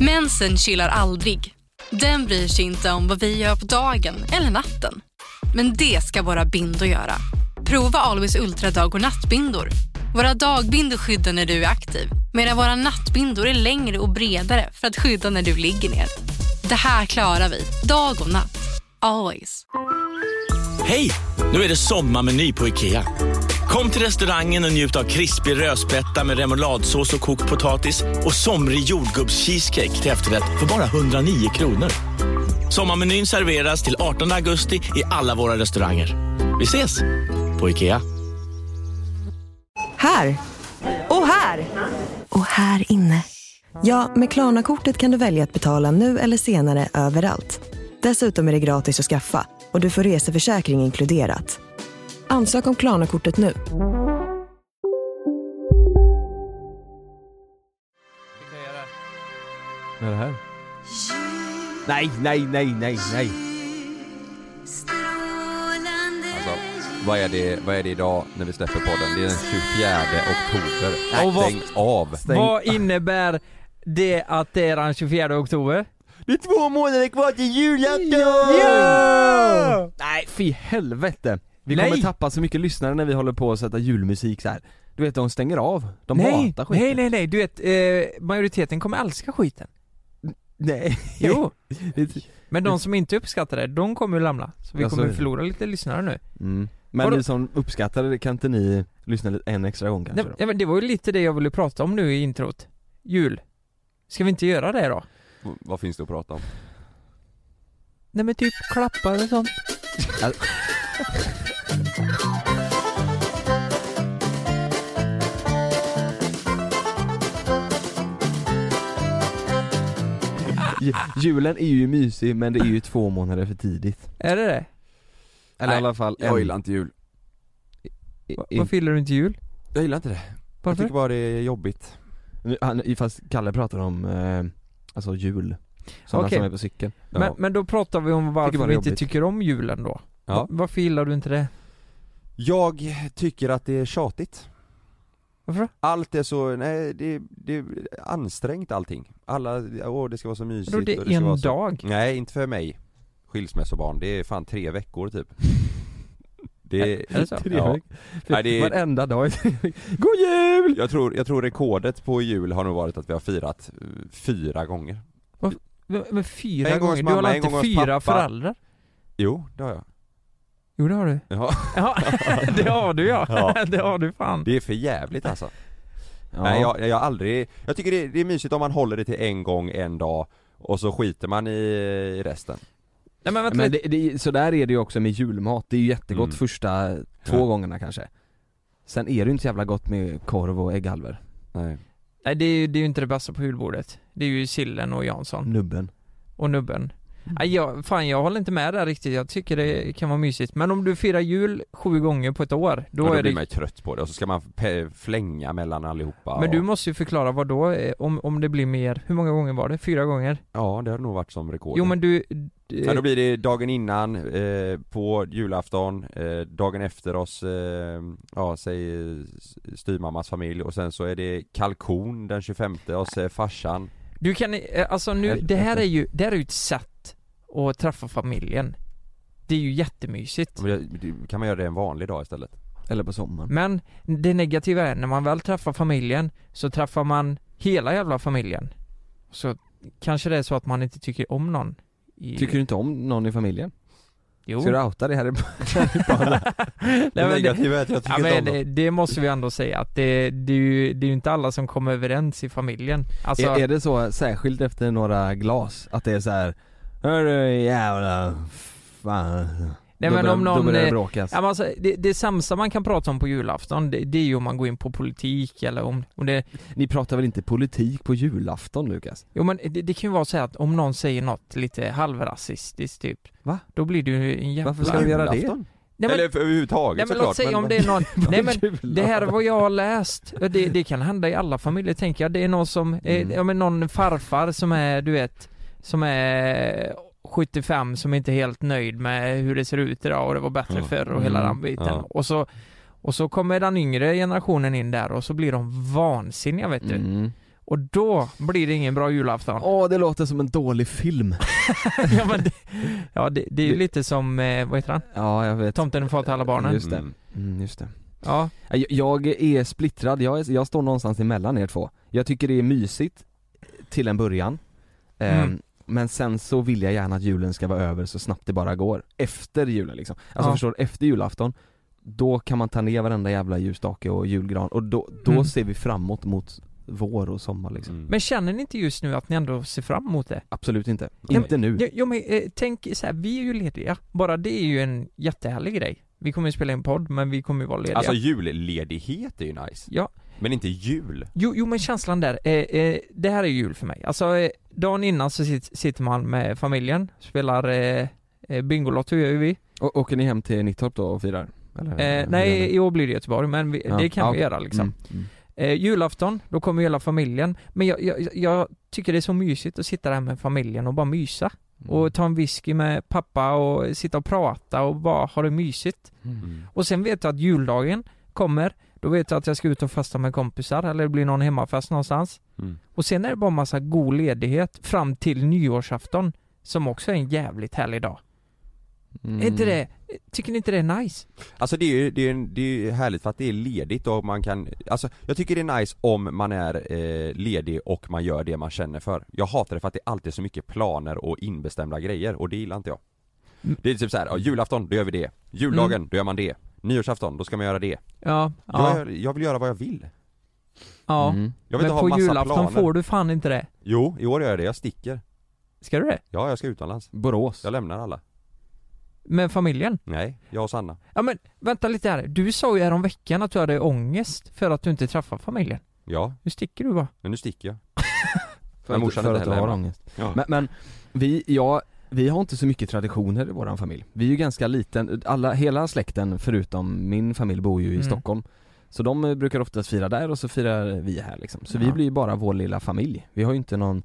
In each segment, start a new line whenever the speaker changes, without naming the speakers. Mensen chillar aldrig. Den bryr sig inte om vad vi gör på dagen eller natten. Men det ska våra bindor göra. Prova Always Ultra dag och nattbindor. Våra dagbindor skyddar när du är aktiv medan våra nattbindor är längre och bredare för att skydda när du ligger ner. Det här klarar vi, dag och natt. Always.
Hej! Nu är det sommarmeny på IKEA. Kom till restaurangen och njut av krispig rödspätta med remouladsås och kokt potatis och somrig jordgubbscheesecake till efterrätt för bara 109 kronor. Sommarmenyn serveras till 18 augusti i alla våra restauranger. Vi ses! På IKEA.
Här! Och här! Och här inne. Ja, med Klarna-kortet kan du välja att betala nu eller senare överallt. Dessutom är det gratis att skaffa och du får reseförsäkring inkluderat. Ansök om Klarna-kortet nu.
Vad är det här? Nej, nej, nej, nej, nej.
Alltså, vad är, det, vad är det idag när vi släpper podden? Det är den 24 oktober.
Nej, vad-
Stäng av!
Vad innebär det att det är den 24 oktober?
Det är två månader kvar till julafton! Nej, fy helvete. Vi
Nej.
kommer tappa så mycket lyssnare när vi håller på att sätta julmusik så här. Du vet, de stänger av. De
nej,
hatar skiten.
nej, nej, nej, du vet, eh, majoriteten kommer älska skiten.
nej.
Jo,
Det- typ-
men de som inte uppskattar det, de kommer ju lämna. Så vi
Ja, så är
kommer
det.
förlora lite lyssnare nu.
Mm. Men
Vadå?
ni som uppskattar det, kan inte ni lyssna lite en extra gång kanske?
Nej,
då?
ja, men det var ju lite det jag ville prata om nu i introt. Jul. Ska vi inte göra det då?
V- Vad finns det att prata om?
Nej men typ klappar och sånt.
Ju- Julen är ju mysig men det är ju två månader för tidigt.
Är det det?
Eller
Nej,
i alla fall
Jag gillar inte jul.
Va- Varför gillar du inte jul?
Jag gillar inte det. Jag
Varför?
tycker bara det är jobbigt.
Nu- Han, fast Kalle pratar om, eh, alltså jul. Sådana
Okej.
som är på cykeln.
Ja.
Men, men då pratar vi om
Tycker
varför
bara
vi
det är
inte
jobbigt.
tycker om julen då.
Ja.
Va- Varför gillar du inte det?
Jag tycker att det är tjatigt.
Varför då?
Allt är så, nej det, det är ansträngt allting. Alla, åh det ska vara så mysigt
Vadå, det
och
är
ska vara
en
så...
dag.
Nej, inte för mig. Skilsmässobarn, det är fan tre veckor typ. Det,
Är det så?
Ja.
Ja.
Nej, det är-
Varenda dag. God jul!
jag, tror, jag tror rekordet på jul har nog varit att vi har firat eh, fyra gånger.
Men, men fyra
En gång
gånger?
hos
Du har
mamma,
väl
en
inte
gång hos pappa.
fyra föräldrar?
Jo, det har jag.
Jo det har du.
Ja,
Ja, det har du ja.
Ja.
Det har du fan.
det är för jävligt alltså.
Ja.
Nej, jag, jag har aldrig, jag tycker det, det är mysigt om man håller det till en gång, en dag och så skiter man i, i resten.
Nej men vänta
Men
lite.
det, det, så där är det ju också med julmat, det är ju jättegott
Mm.
första två
Ja.
gångerna kanske. Sen är det ju inte så jävla gott med korv och ägghalvor.
Nej.
Nej det är, ju- det är ju inte det bästa på julbordet. Det är ju sillen och Jansson.
Nubben.
och nubben.
Mm.
Nej, jag, fan jag håller inte med där riktigt, jag tycker det kan vara mysigt. Men om du firar jul sju gånger på ett år, då,
Då, då
är
blir
det...
man ju trött på det och så ska man pe- flänga mellan allihopa
Men du
och,
måste ju förklara vad då, eh, om, om det blir mer, hur många gånger var det? Fyra gånger?
Ja, det har nog varit som rekord.
Jo men du...
Ja,
Eh,
då blir det dagen innan, eh, på julafton, eh, dagen efter oss, eh, ja säg eh, styvmammas familj och sen så är det kalkon den 25 hos eh, farsan.
Du kan, eh, alltså nu, det här är ju, det här är ju ett sätt att träffa familjen. Det är ju jättemysigt.
Ja, men det- det- Kan man göra det en vanlig dag istället?
Eller på sommaren.
Men det negativa är, när man väl träffar familjen så träffar man hela jävla familjen. Så kanske det är så att man inte tycker om någon. I...
Tycker du inte om någon i familjen?
Jo.
Ska du outa det här i
Nej, men det,
negativa är att jag
ja,
inte
men
om dem.
det, det måste vi ändå säga att det, det, är ju, det är ju inte alla som kommer överens i familjen. Alltså,
är, är det så, särskilt efter några glas, att det är så här. Hörru jävla fan.
nej,
då
men
börjar,
om
då
någon,
börjar det
eh,
bråkas.
ja, men alltså, det, det sämsta man kan prata om på julafton det, det är ju om man går in på politik eller om, om det,
Ni pratar väl inte politik på julafton Lukas?
jo men det, det kan ju vara så här att om någon säger något lite halvrasistiskt typ.
Va?
Då blir du ju en jävla...
Varför ska de göra det?
Julafton?
Nej men,
Eller för- överhuvudtaget
nej, men
såklart,
låt säga om det är någon, nej men Det här är vad jag har läst. Det, det kan hända i alla familjer tänker jag. Det är någon som,
Mm.
eh, ja men någon farfar som är, du vet, som är 75 som inte är helt nöjd med hur det ser ut idag och det var bättre
Ja.
förr och hela
Mm.
den biten.
Ja.
Och, så, och så kommer den yngre generationen in där och så blir de vansinniga vet du.
Mm.
Och då blir det ingen bra julafton.
Åh, det låter som en dålig film.
ja men det, ja, det, det är ju
Det-
lite som, eh, vad heter han?
Ja, jag vet.
Tomten är far till alla barnen.
Just det.
Mm.
Mm, just det.
Ja,
Jag, jag är splittrad, jag, är, jag står någonstans emellan er två. Jag tycker det är mysigt till en början. Ehm,
Mm.
Men sen så vill jag gärna att julen ska vara över så snabbt det bara går. Efter julen liksom. Alltså
Ja.
förstår du, efter julafton, då kan man ta ner varenda jävla ljusstake och julgran och då, då
Mm.
ser vi framåt mot vår och sommar liksom.
Mm.
men känner ni inte just nu att ni ändå ser fram emot det?
Absolut inte.
Nej.
Inte nu.
Jo, jo men eh, tänk så här, vi är ju lediga. Bara det är ju en jättehärlig grej. Vi kommer ju spela in podd, men vi kommer ju vara lediga.
Alltså julledighet är ju nice.
Ja.
Men inte jul.
Jo, jo men känslan där, eh, eh, det här är jul för mig. Alltså eh, dagen innan så sit, sitter man med familjen, spelar eh, eh, Bingolotto gör ju vi.
Och, åker ni hem till Nittorp då och firar? Eller,
Eh, nej, i år blir det Göteborg men vi,
Ja.
det kan
Ja,
vi
okej.
göra liksom.
Mm. Mm.
Eh, julafton, då kommer hela familjen. Men jag, jag, jag tycker det är så mysigt att sitta där med familjen och bara mysa.
Mm.
Och ta en whisky med pappa och sitta och prata och bara ha det mysigt.
Mm.
Och sen vet jag att juldagen kommer, då vet jag att jag ska ut och festa med kompisar eller det blir någon hemmafest någonstans.
Mm.
Och sen är det bara massa god ledighet fram till nyårsafton som också är en jävligt härlig dag. Är
Mm.
inte det, tycker ni inte det är nice?
Alltså det är ju, det är, ju- det är ju härligt för att det är ledigt och man kan, alltså jag tycker det är nice om man är eh, ledig och man gör det man känner för. Jag hatar det för att det är alltid så mycket planer och inbestämda grejer och det gillar inte jag.
Mm.
Det är typ såhär, ja, julafton, då gör vi det. Juldagen,
Mm.
då gör man det. Nyårsafton, då ska man göra det.
Ja,
Jag,
ja,
gör- jag vill göra vad jag vill.
ja.
Mm.
Jag vill
Men
inte ha
på
massa
julafton
planer.
får du fan inte det.
Jo, i år gör jag det, jag sticker.
Ska du det?
Ja, jag ska utomlands.
Borås.
Jag lämnar alla.
Med familjen?
Nej, jag och Sanna.
Ja men vänta lite här, du sa ju häromveckan att du hade ångest för att du inte träffar familjen.
Ja,
Nu sticker du bara.
men nu sticker jag.
För
Men
att,
morsan
för
inte
att du
heller
har
hemma.
ångest.
Ja.
Men, men vi, ja, vi har inte så mycket traditioner i våran familj. Vi är ju ganska liten, alla, hela släkten förutom min familj bor ju i
Mm.
Stockholm. Så de eh, brukar oftast fira där och så firar vi här liksom. Så vi
Ja.
blir ju bara vår lilla familj. Vi har ju inte någon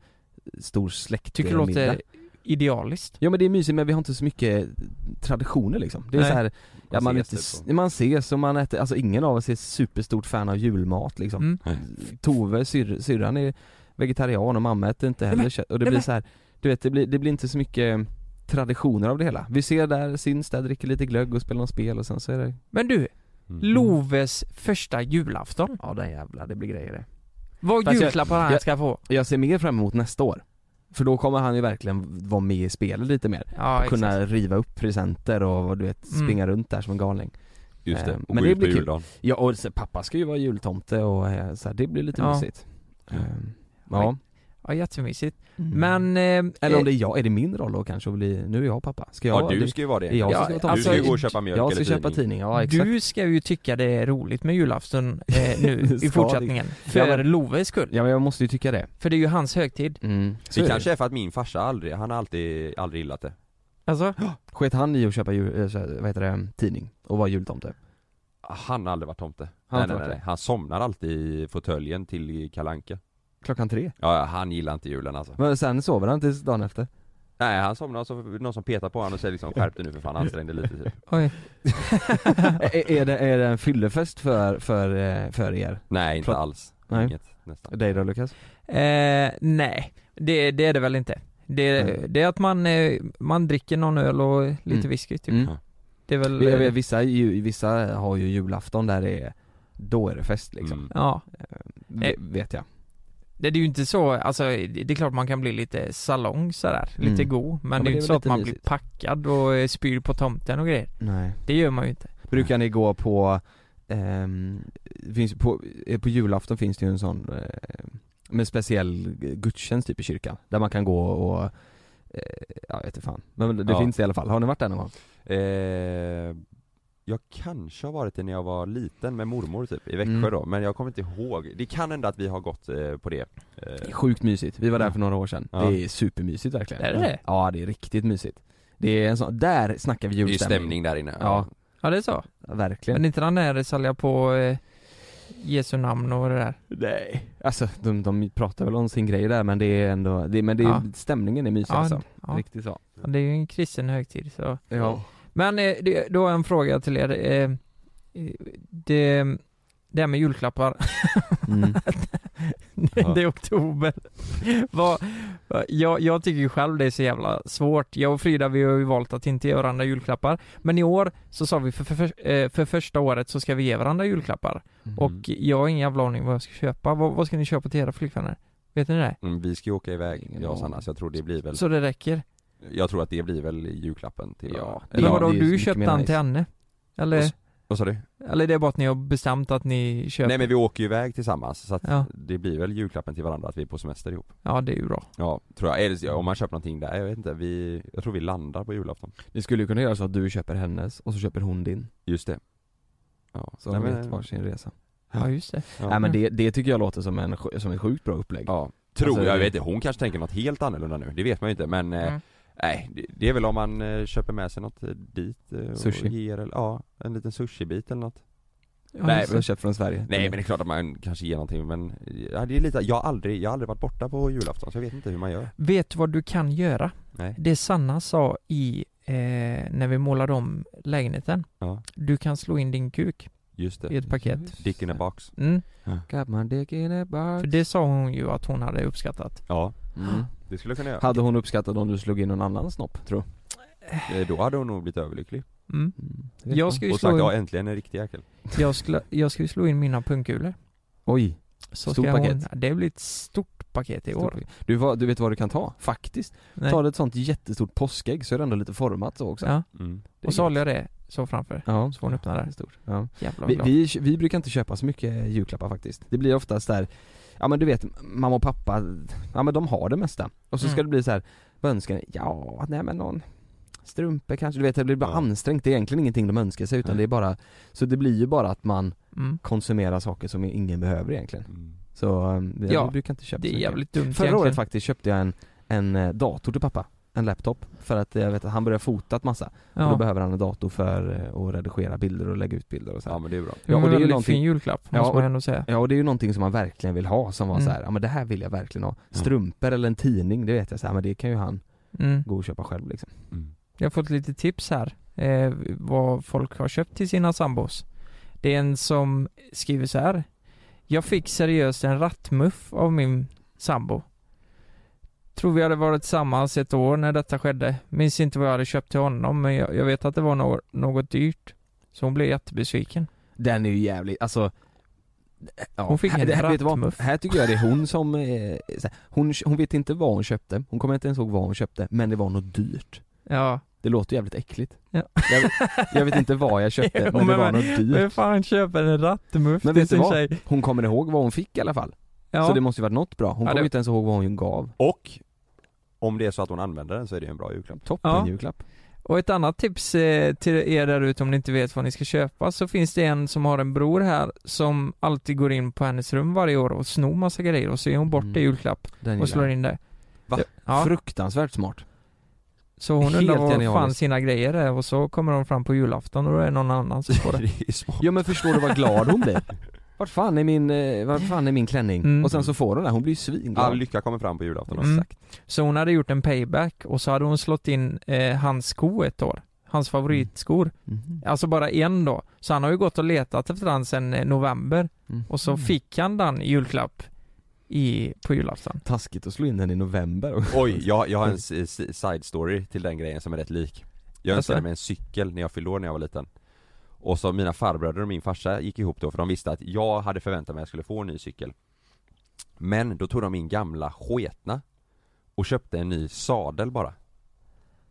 stor släkt
Tycker det låter idealiskt.
Ja men det är mysigt men vi har inte så mycket traditioner liksom. Det är
Nej.
så här, ja, man,
ses
inte,
typ
man ses och man äter, alltså ingen av oss är superstort fan av julmat liksom.
Mm.
Tove, syr, syrran är vegetarian och mamma äter inte heller
men-
kött och det
nej,
blir
men-
så här, du vet det blir, det blir inte så mycket mm, traditioner av det hela. Vi ser där, syns där, dricker lite glögg och spelar något spel och sen så är det
Men du,
Mm.
Loves första julafton.
Ja den jävla det blir grejer det.
Vad
Fast jag-
julklappar han
jag-
ska få.
Jag ser mer fram emot nästa år. För då kommer han ju verkligen vara med i spelet lite mer.
Ja,
Kunna
exakt.
riva upp presenter och du vet,
Mm.
springa runt där som en galning.
Just det,
Eh,
och
men
gå
det
ut på
blir kul.
juldagen.
Ja och så, pappa ska ju vara jultomte och eh, så här, det blir lite
Ja.
mysigt. Eh, Ja.
Ja, jättemysigt. Men... Eh,
Mm. Eller om det är jag, är det min roll då kanske att bli, nu är jag pappa. Ska jag
Ja,
vara-
du ska ju vara det.
det är jag som
Ja,
ska vara
Du
tomte.
ska ju
Alltså,
gå och köpa mjölk
Jag ska
eller
köpa
tidning.
tidning, ja exakt.
du ska ju tycka det är roligt med julafton eh,
Det
nu
ska
i fortsättningen. För
Ja, men-
Loves skull.
Ja men jag måste ju tycka det.
För det är ju hans högtid.
Mm.
Det kanske är för att min farsa aldrig, han har alltid, aldrig gillat det.
Alltså,
Sket han i att köpa jul, eh, så här, vad heter det, tidning och vara jultomte?
Han har aldrig varit tomte.
Han har
Han,
inte
nej,
varit
nej, nej. han somnar alltid i fåtöljen till kalanka.
Klockan tre?
Ja, ja, han gillar inte julen alltså.
Men sen sover han tills dagen efter?
Nej, han somnar och så någon som petar på honom och säger liksom skärp dig nu för fan, ansträng dig lite typ.
oj.
är, är, det, är det en fyllefest för, för, eh, för er?
Nej, inte
Klart.
alls.
Nej.
Inget, nästan.
Dig då Lukas?
Eh, nej, det, det är det väl inte. Det,
Nej.
det är att man, eh, man dricker någon öl och lite
Mm.
whisky typ.
Mm.
Det är väl...
Eh.
eh,
Jag vet, vissa, ju, vissa har ju julafton där det är, då är det fest liksom.
Mm. Eh.
Ja.
Ve- Vet jag.
Det det är ju inte så, alltså det det är klart man kan bli lite salong sådär,
Mm.
lite god. Men
men det
det är ju
är
inte så
väl
att
lite
man
mysigt.
blir packad och eh, spyr på tomten och grejer.
Nej.
Det gör man ju inte.
Brukar ni gå på, ehm, finns på, eh, på julafton finns det ju en sån eh, med speciell gudstjänst typ i kyrkan, där man kan gå och eh, Ja, jag vet inte fan. Men det
Ja.
finns i alla fall. Har ni varit där någon gång?
Eh, jag kanske har varit det när jag var liten med mormor typ, i Växjö
Mm.
då, men jag kommer inte ihåg. Det kan hända att vi har gått eh, på det. Eh,
Sjukt mysigt. Vi var där
Ja.
för några år sedan.
Ja.
Det är supermysigt verkligen.
Är det det?
Ja, det är riktigt mysigt. Det är en sån, där snackar vi
det är ju
julstämning.
stämning där inne.
Ja,
Ja det är så.
verkligen.
Men inte den där salja på eh, Jesu namn och det där.
Nej. Alltså, de, de pratar väl om sin grej där men det är ändå, det, men det, är-
Ja.
stämningen är mysig
Ja,
alltså.
ja.
Riktigt så.
Ja, Det är ju en kristen högtid så.
Ja.
Men eh, det, då har jag en fråga till er. Eh, eh, det, det här med julklappar,
Mm.
Ja.
det är oktober. Vad, vad- jag, jag tycker ju själv det är så jävla svårt. Jag och Frida vi har ju valt att inte ge varandra julklappar. Men i år så sa vi för, för, för, eh, för första året så ska vi ge varandra
Mm.
julklappar.
Mm.
Och jag har ingen jävla aning vad jag ska köpa. Vad, vad ska ni köpa till era flickvänner? Vet ni det?
Mm, vi ska ju åka iväg,
Ingen
jag och
aning.
Sanna, så jag tror det blir väl,
Så det räcker?
jag tror att det blir väl julklappen till
Ja,
eller,
Men
Ja,
vadå,
det är ju så
du
mycket
köpte
mer
den
nice.
till henne?
Och
Eller,
s- Vad sa du?
eller det är bara att ni har bestämt att ni köper?
Nej men vi åker ju iväg tillsammans, så att
Ja.
det blir väl julklappen till varandra att vi är på semester ihop
Ja det är ju bra.
Ja, tror jag, eller om man köper någonting där, jag vet inte, vi, jag tror vi landar på julafton
Ni skulle ju kunna göra så att du köper hennes och så köper hon din.
Just det Ja,
Så
Nej,
har ni
men-
vet varsin resa.
Ja just det.
ja.
Nej men det, det tycker jag låter som, en, sj- som ett sjukt bra upplägg.
Ja, tror
Alltså,
jag, jag
det-
vet inte, hon kanske tänker något helt annorlunda nu, det vet man ju inte men eh,
Mm.
Nej, det- det är väl om man eh, köper med sig något eh, dit eh,
Sushi.
och ger, eller, ja, en liten sushibit eller något
Ja,
Nej,
just
Som
det.
jag köpt från Sverige.
Nej men det är klart att man kanske ger någonting men, ja, det är lite, jag har aldrig, jag har aldrig varit borta på julafton så jag vet inte hur man gör
Vet du vad du kan göra?
Nej,
Det Sanna sa i, eh, när vi målade om lägenheten.
Ja.
Du kan slå in din kuk
just
i
det,
ett paket.
dick in a box
Mm.
Got my dick in a box.
För det sa hon ju att hon hade uppskattat.
Ja,
Mm.
det skulle jag kunna göra
Hade hon uppskattat om du slog in någon annan snopp, tror
Eh, Då hade hon nog blivit överlycklig
Mm.
du?
Jag ska ju
och sagt
slå
ja
in,
äntligen en riktig jäkel
jag skulle, jag ska ju slå in mina pungkulor.
Oj,
Så
Stort
ska hon,
paket.
Det blir ett stort paket i år.
stort. du, vad- du vet vad du kan ta, faktiskt.
Nej.
Tar du ett sånt jättestort påskägg så är det ändå lite format så också.
Ja.
mm.
Det är
Och så
gött.
håller jag det så framför.
Ja,
Så får hon öppna
det är
där.
stort. Ja.
Jävla
Vi,
glad.
vi, vi brukar inte köpa så mycket julklappar faktiskt. Det blir oftast där, ja men du vet, mamma och pappa, ja men de har det mesta. Och så ska
Mm.
det bli så här, vad önskar ni? Ja, nej men någon strumpor kanske, du vet det blir bara
Ja.
ansträngt, det är egentligen ingenting de önskar sig utan
Nej.
det är bara, så det blir ju bara att man
Mm.
konsumerar saker som ingen behöver egentligen.
Mm.
Så eh, vi,
Ja,
vi brukar inte köpa
Det
så
är
mycket.
jävligt dumt
Förra
egentligen.
året faktiskt köpte jag en, en eh, dator till pappa, en laptop, för att eh, jag vet att han börjar fota ett massa. Och då
Ja.
behöver han en dator för eh, att redigera bilder och lägga ut bilder och så här.
Ja men det är bra
Ja, och
det är en väldigt
någonting-
fin julklapp,
Ja,
måste
och-
man ändå säga.
Ja och det är ju någonting som man verkligen vill ha som var
Mm.
så här, ja men det här vill jag verkligen ha. Strumpor eller en tidning, det vet jag så här, men det kan ju han
Mm.
gå och köpa själv liksom.
mm.
Jag har fått lite tips här, eh, vad folk har köpt till sina sambos. Det är en som skriver så här. Jag fick seriöst en rattmuff av min sambo. Tror vi hade varit tillsammans ett år när detta skedde. Minns inte vad jag hade köpt till honom, men jag, jag vet att det var no- något dyrt. Så hon blev jättebesviken.
Den är ju jävligt, alltså ja,
Hon fick en
det här, vet du vad,
rattmuff.
här tycker jag det är hon som, eh, så här, hon, hon vet inte vad hon köpte, hon kommer inte ens ihåg vad hon köpte, men det var något dyrt.
Ja,
Det låter jävligt äckligt.
Ja.
Jag, jag vet inte vad jag köpte,
Jo,
men det
men-
var något
vem
dyrt.
fan köper en rattmuff
Men
till
vet du
sin
vad?
tjej?
Hon kommer ihåg vad hon fick i alla fall.
Ja,
Så det måste ju varit något bra. Hon
Ja,
kommer
det-
ju inte ens ihåg vad hon gav.
Och om det är så att hon använder den så är det ju en bra julklapp
Toppen
Ja.
julklapp.
Och ett annat tips eh, till er där ute om ni inte vet vad ni ska köpa så finns det en som har en bror här som alltid går in på hennes rum varje år och snor massa grejer och så ger hon bort
Mm.
det i julklapp
Den
och
gillar
slår
jag.
in det.
Va?
Ja,
Fruktansvärt smart.
så hon
Helt
undrar var fan
genialiskt.
sina grejer är och så kommer de fram på julafton och då är det någon annan som får det.
Det är smart
Ja men förstår du vad glad hon blir? Vart fan är min, eh, vart fan är min klänning?
Mm.
Och sen så får hon den, hon blir ju svinglad
All lycka kommer fram på julafton
Mm. Så hon hade gjort en payback och så hade hon slått in eh, hans sko ett år. Hans
Mm.
favoritskor.
Mhm.
Alltså bara en då. Så han har ju gått och letat efter den sedan eh, november
Mhm.
och så fick han den i julklapp i, på julafton.
Taskigt att slå in den i november
Oj, jag, jag har en s- s- side story till den grejen som är rätt lik Jag
Jaså?
önskade mig en cykel när jag fyllde år när jag var liten Och så mina farbröder och min farsa gick ihop då för de visste att jag hade förväntat mig att jag skulle få en ny cykel Men då tog de min gamla sketna Och köpte en ny sadel bara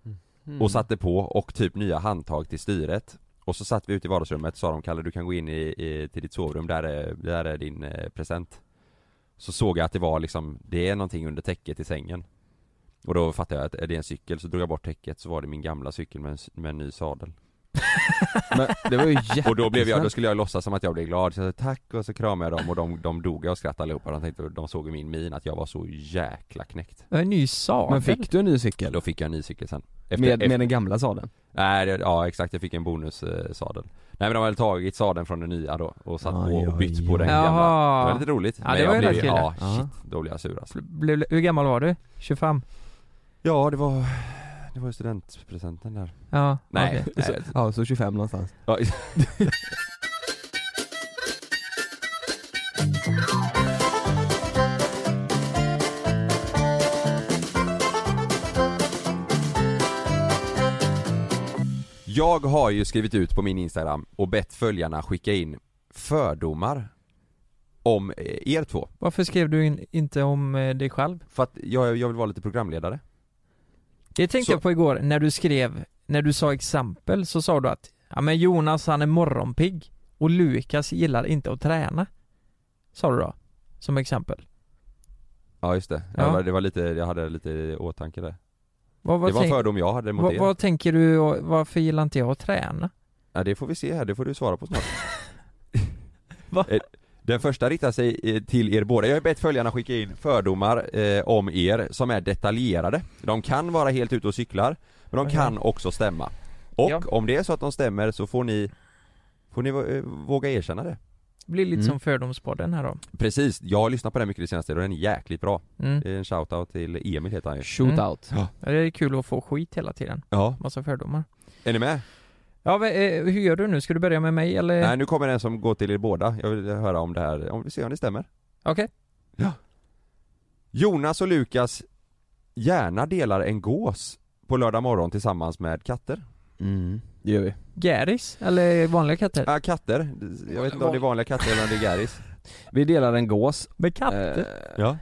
Mm.
Mm.
och satte på och typ nya handtag till styret Och så satt vi ute i vardagsrummet sa de Kalle du kan gå in i, i, till ditt sovrum, där är, där är din eh, present Så såg jag att det var liksom, det är någonting under täcket i sängen Och då fattade jag att är det är en cykel, så drog jag bort täcket så var det min gamla cykel med en, s- med en ny sadel
Men det var ju jättesnällt
Och då blev jag, då skulle jag låtsas som att jag blev glad, så jag sa tack och så kramade jag dem och de, de dog av skratt allihopa De tänkte, de såg i min min att jag var så jäkla knäckt
Ja, En ny sadel?
Men fick du en ny cykel?
Då fick jag en ny cykel sen Efter-
Med,
efter-
med den gamla sadeln?
Nej, det, ja exakt, jag fick en bonussadel. Nej men de hade tagit sadeln från den nya då och satt
Aj,
på och
aj,
bytt på
aj.
den gamla. Det var
Jaha.
lite roligt.
Ja,
men
det var
jag
ju
blev
rätt kul.
Ja,
Ja.
shit, då blev jag sur alltså.
Blev, hur gammal var du? 25?
Ja, det var, det var ju studentpresenten där.
Ja.
Nej,
okej.
nej.
Ja, så 25 någonstans
Ja, Jag har ju skrivit ut på min Instagram och bett följarna skicka in fördomar om eh, er två.
Varför skrev du in, inte om eh, dig själv?
För att jag, jag vill vara lite programledare.
Det tänkte
Så-
jag på igår när du skrev, när du sa exempel så sa du att ja men Jonas han är morgonpigg och Lukas gillar inte att träna. Sa du då? Som exempel.
Ja just det,
Ja.
Jag, var- det var lite, jag hade lite i åtanke där.
Vad, vad,
det var en
tänk,
fördom jag hade mot
vad,
er.
vad tänker du, och varför gillar inte jag att träna?
Ja, det får vi se här, det får du svara på snart.
Va?
Eh, Den första riktar sig eh, till er båda. Jag har bett följarna skicka in fördomar eh, om er som är detaljerade. De kan vara helt ute och cyklar, men de
Okej.
kan också stämma. Och
Ja.
om det är så att de stämmer så får ni, får ni eh, våga erkänna det.
Det blir lite
Mm.
som fördomspodden här då.
Precis, jag har lyssnat på den mycket det senaste och den är jäkligt bra.
Mm.
Det är en shoutout till Emil heter han ju.
Shootout.
Ja, Det är kul att få skit hela tiden.
Ja.
Massa fördomar.
Är ni
Eh.
med?
Ja, men, eh, hur gör du nu? Ska du börja med mig eller?
Nej, nu kommer en som går till er båda. Jag vill höra om det här, om vi ser om det stämmer.
Okej.
Jonas och Lukas gärna delar en gås på lördag morgon tillsammans med katter.
Mm, det gör vi.
Gäris? Eller vanliga katter?
Ja, Äh, katter. Jag vet inte om det är vanliga katter eller om det är gäris.
Vi delar en gås.
Med katter?
Eh,
Ja.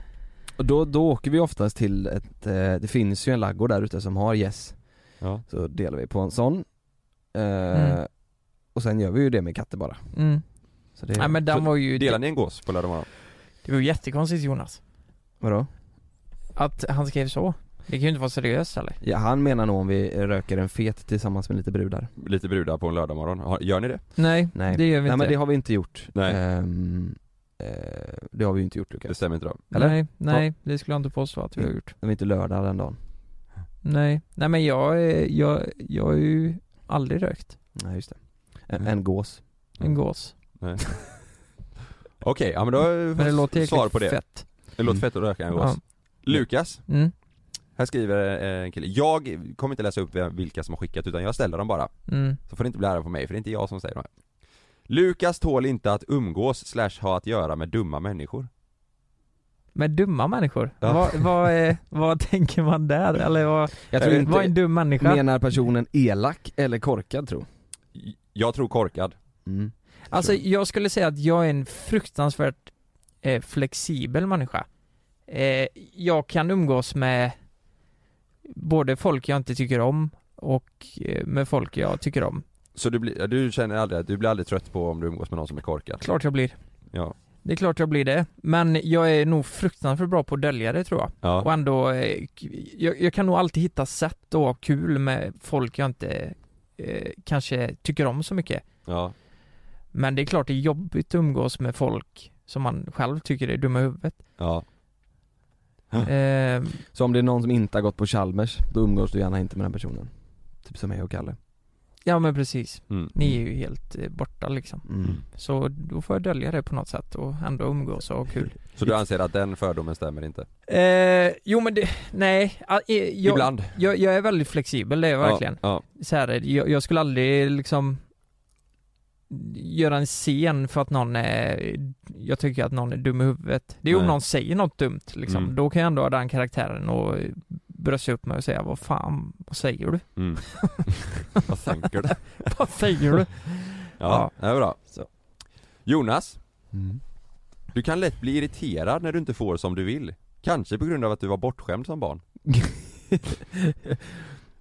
och då, då åker vi oftast till ett, eh, det finns ju en laggård där ute som har gäss.
Ja.
Så delar vi på en sån. Eh,
Mm.
Och sen gör vi ju det med katter bara.
Mm.
Så det,
Nej men den
Så
var ju...
Delar ni en gås på lördag morgon?
Det var ju jättekonstigt Jonas.
Vadå?
Att han skrev så. Det kan ju inte vara seriöst eller?
Ja, han menar nog om vi röker en fet tillsammans med lite brudar.
Lite brudar på en lördag morgon. Har- Gör ni det?
Nej,
Nej.
det gör vi
Nej
inte.
men det har vi inte gjort.
Nej.
Ehm, eh, det har vi ju inte gjort Lukas.
Det stämmer inte då.
eller?
Nej, nej, det skulle jag inte påstå att vi har gjort.
Det var inte lördag den dagen.
Nej, nej men jag, är- jag, jag har ju aldrig rökt
Nej just det. En, en gås.
en gås.
Okej, ja men då
Men det låter
svar
jäkligt
på det.
fett. Mm.
Det låter fett att röka en gås.
Ja.
Lukas,
Mm,
här skriver eh, en kille. Jag kommer inte läsa upp vem- vilka som har skickat utan jag ställer dem bara.
mm.
Så får det inte bli ära på mig för det är inte jag som säger de här. Lukas tål inte att umgås slash ha att göra med dumma människor.
Med dumma människor?
Ja.
Vad, vad, är, vad tänker man där? Eller vad,
Jag tror
Äh, vad är
inte,
en dum människa?
menar personen elak eller korkad tror.
Jag tror korkad.
Mm.
Alltså
Tror
jag skulle säga att jag är en fruktansvärt eh, flexibel människa. Eh, jag kan umgås med både folk jag inte tycker om och eh, med folk jag tycker om.
Så du, blir, du känner aldrig, du blir aldrig trött på om du umgås med någon som är korkad?
Klart jag blir.
Ja.
Det är klart jag blir det. Men jag är nog fruktansvärt bra på att dölja det tror jag. Och
ja.
ändå, eh, k- jag, jag kan nog alltid hitta sätt att ha kul med folk jag inte eh, kanske tycker om så mycket.
ja.
Men det är klart det är jobbigt att umgås med folk som man själv tycker är dumma i huvudet.
ja.
Eh,
Så om det är någon som inte har gått på Chalmers, då umgås du gärna inte med den personen. Typ som jag och Kalle.
ja men precis.
Mm.
Ni är ju helt eh, borta liksom.
Mm.
Så då får jag dölja det på något sätt och ändå umgås och ha kul.
Så du anser att den fördomen stämmer inte?
Eh, jo men det, nej. ah, eh, Jag,
Ibland.
Jag, jag är väldigt flexibel, det är jag verkligen.
Ja.
Så här, är det. jag, jag skulle aldrig liksom göra en scen för att någon är, jag tycker att någon är dum i huvudet. Det är om
Nej.
någon säger något dumt liksom.
Mm.
Då kan jag ändå ha den karaktären och brösta upp mig och säga vad fan, vad säger du?
ja. Mm. Vad tänker du?
vad säger du?
Ja, det är bra.
Så.
Jonas,
Mm.
du kan lätt bli irriterad när du inte får som du vill. Kanske på grund av att du var bortskämd som barn.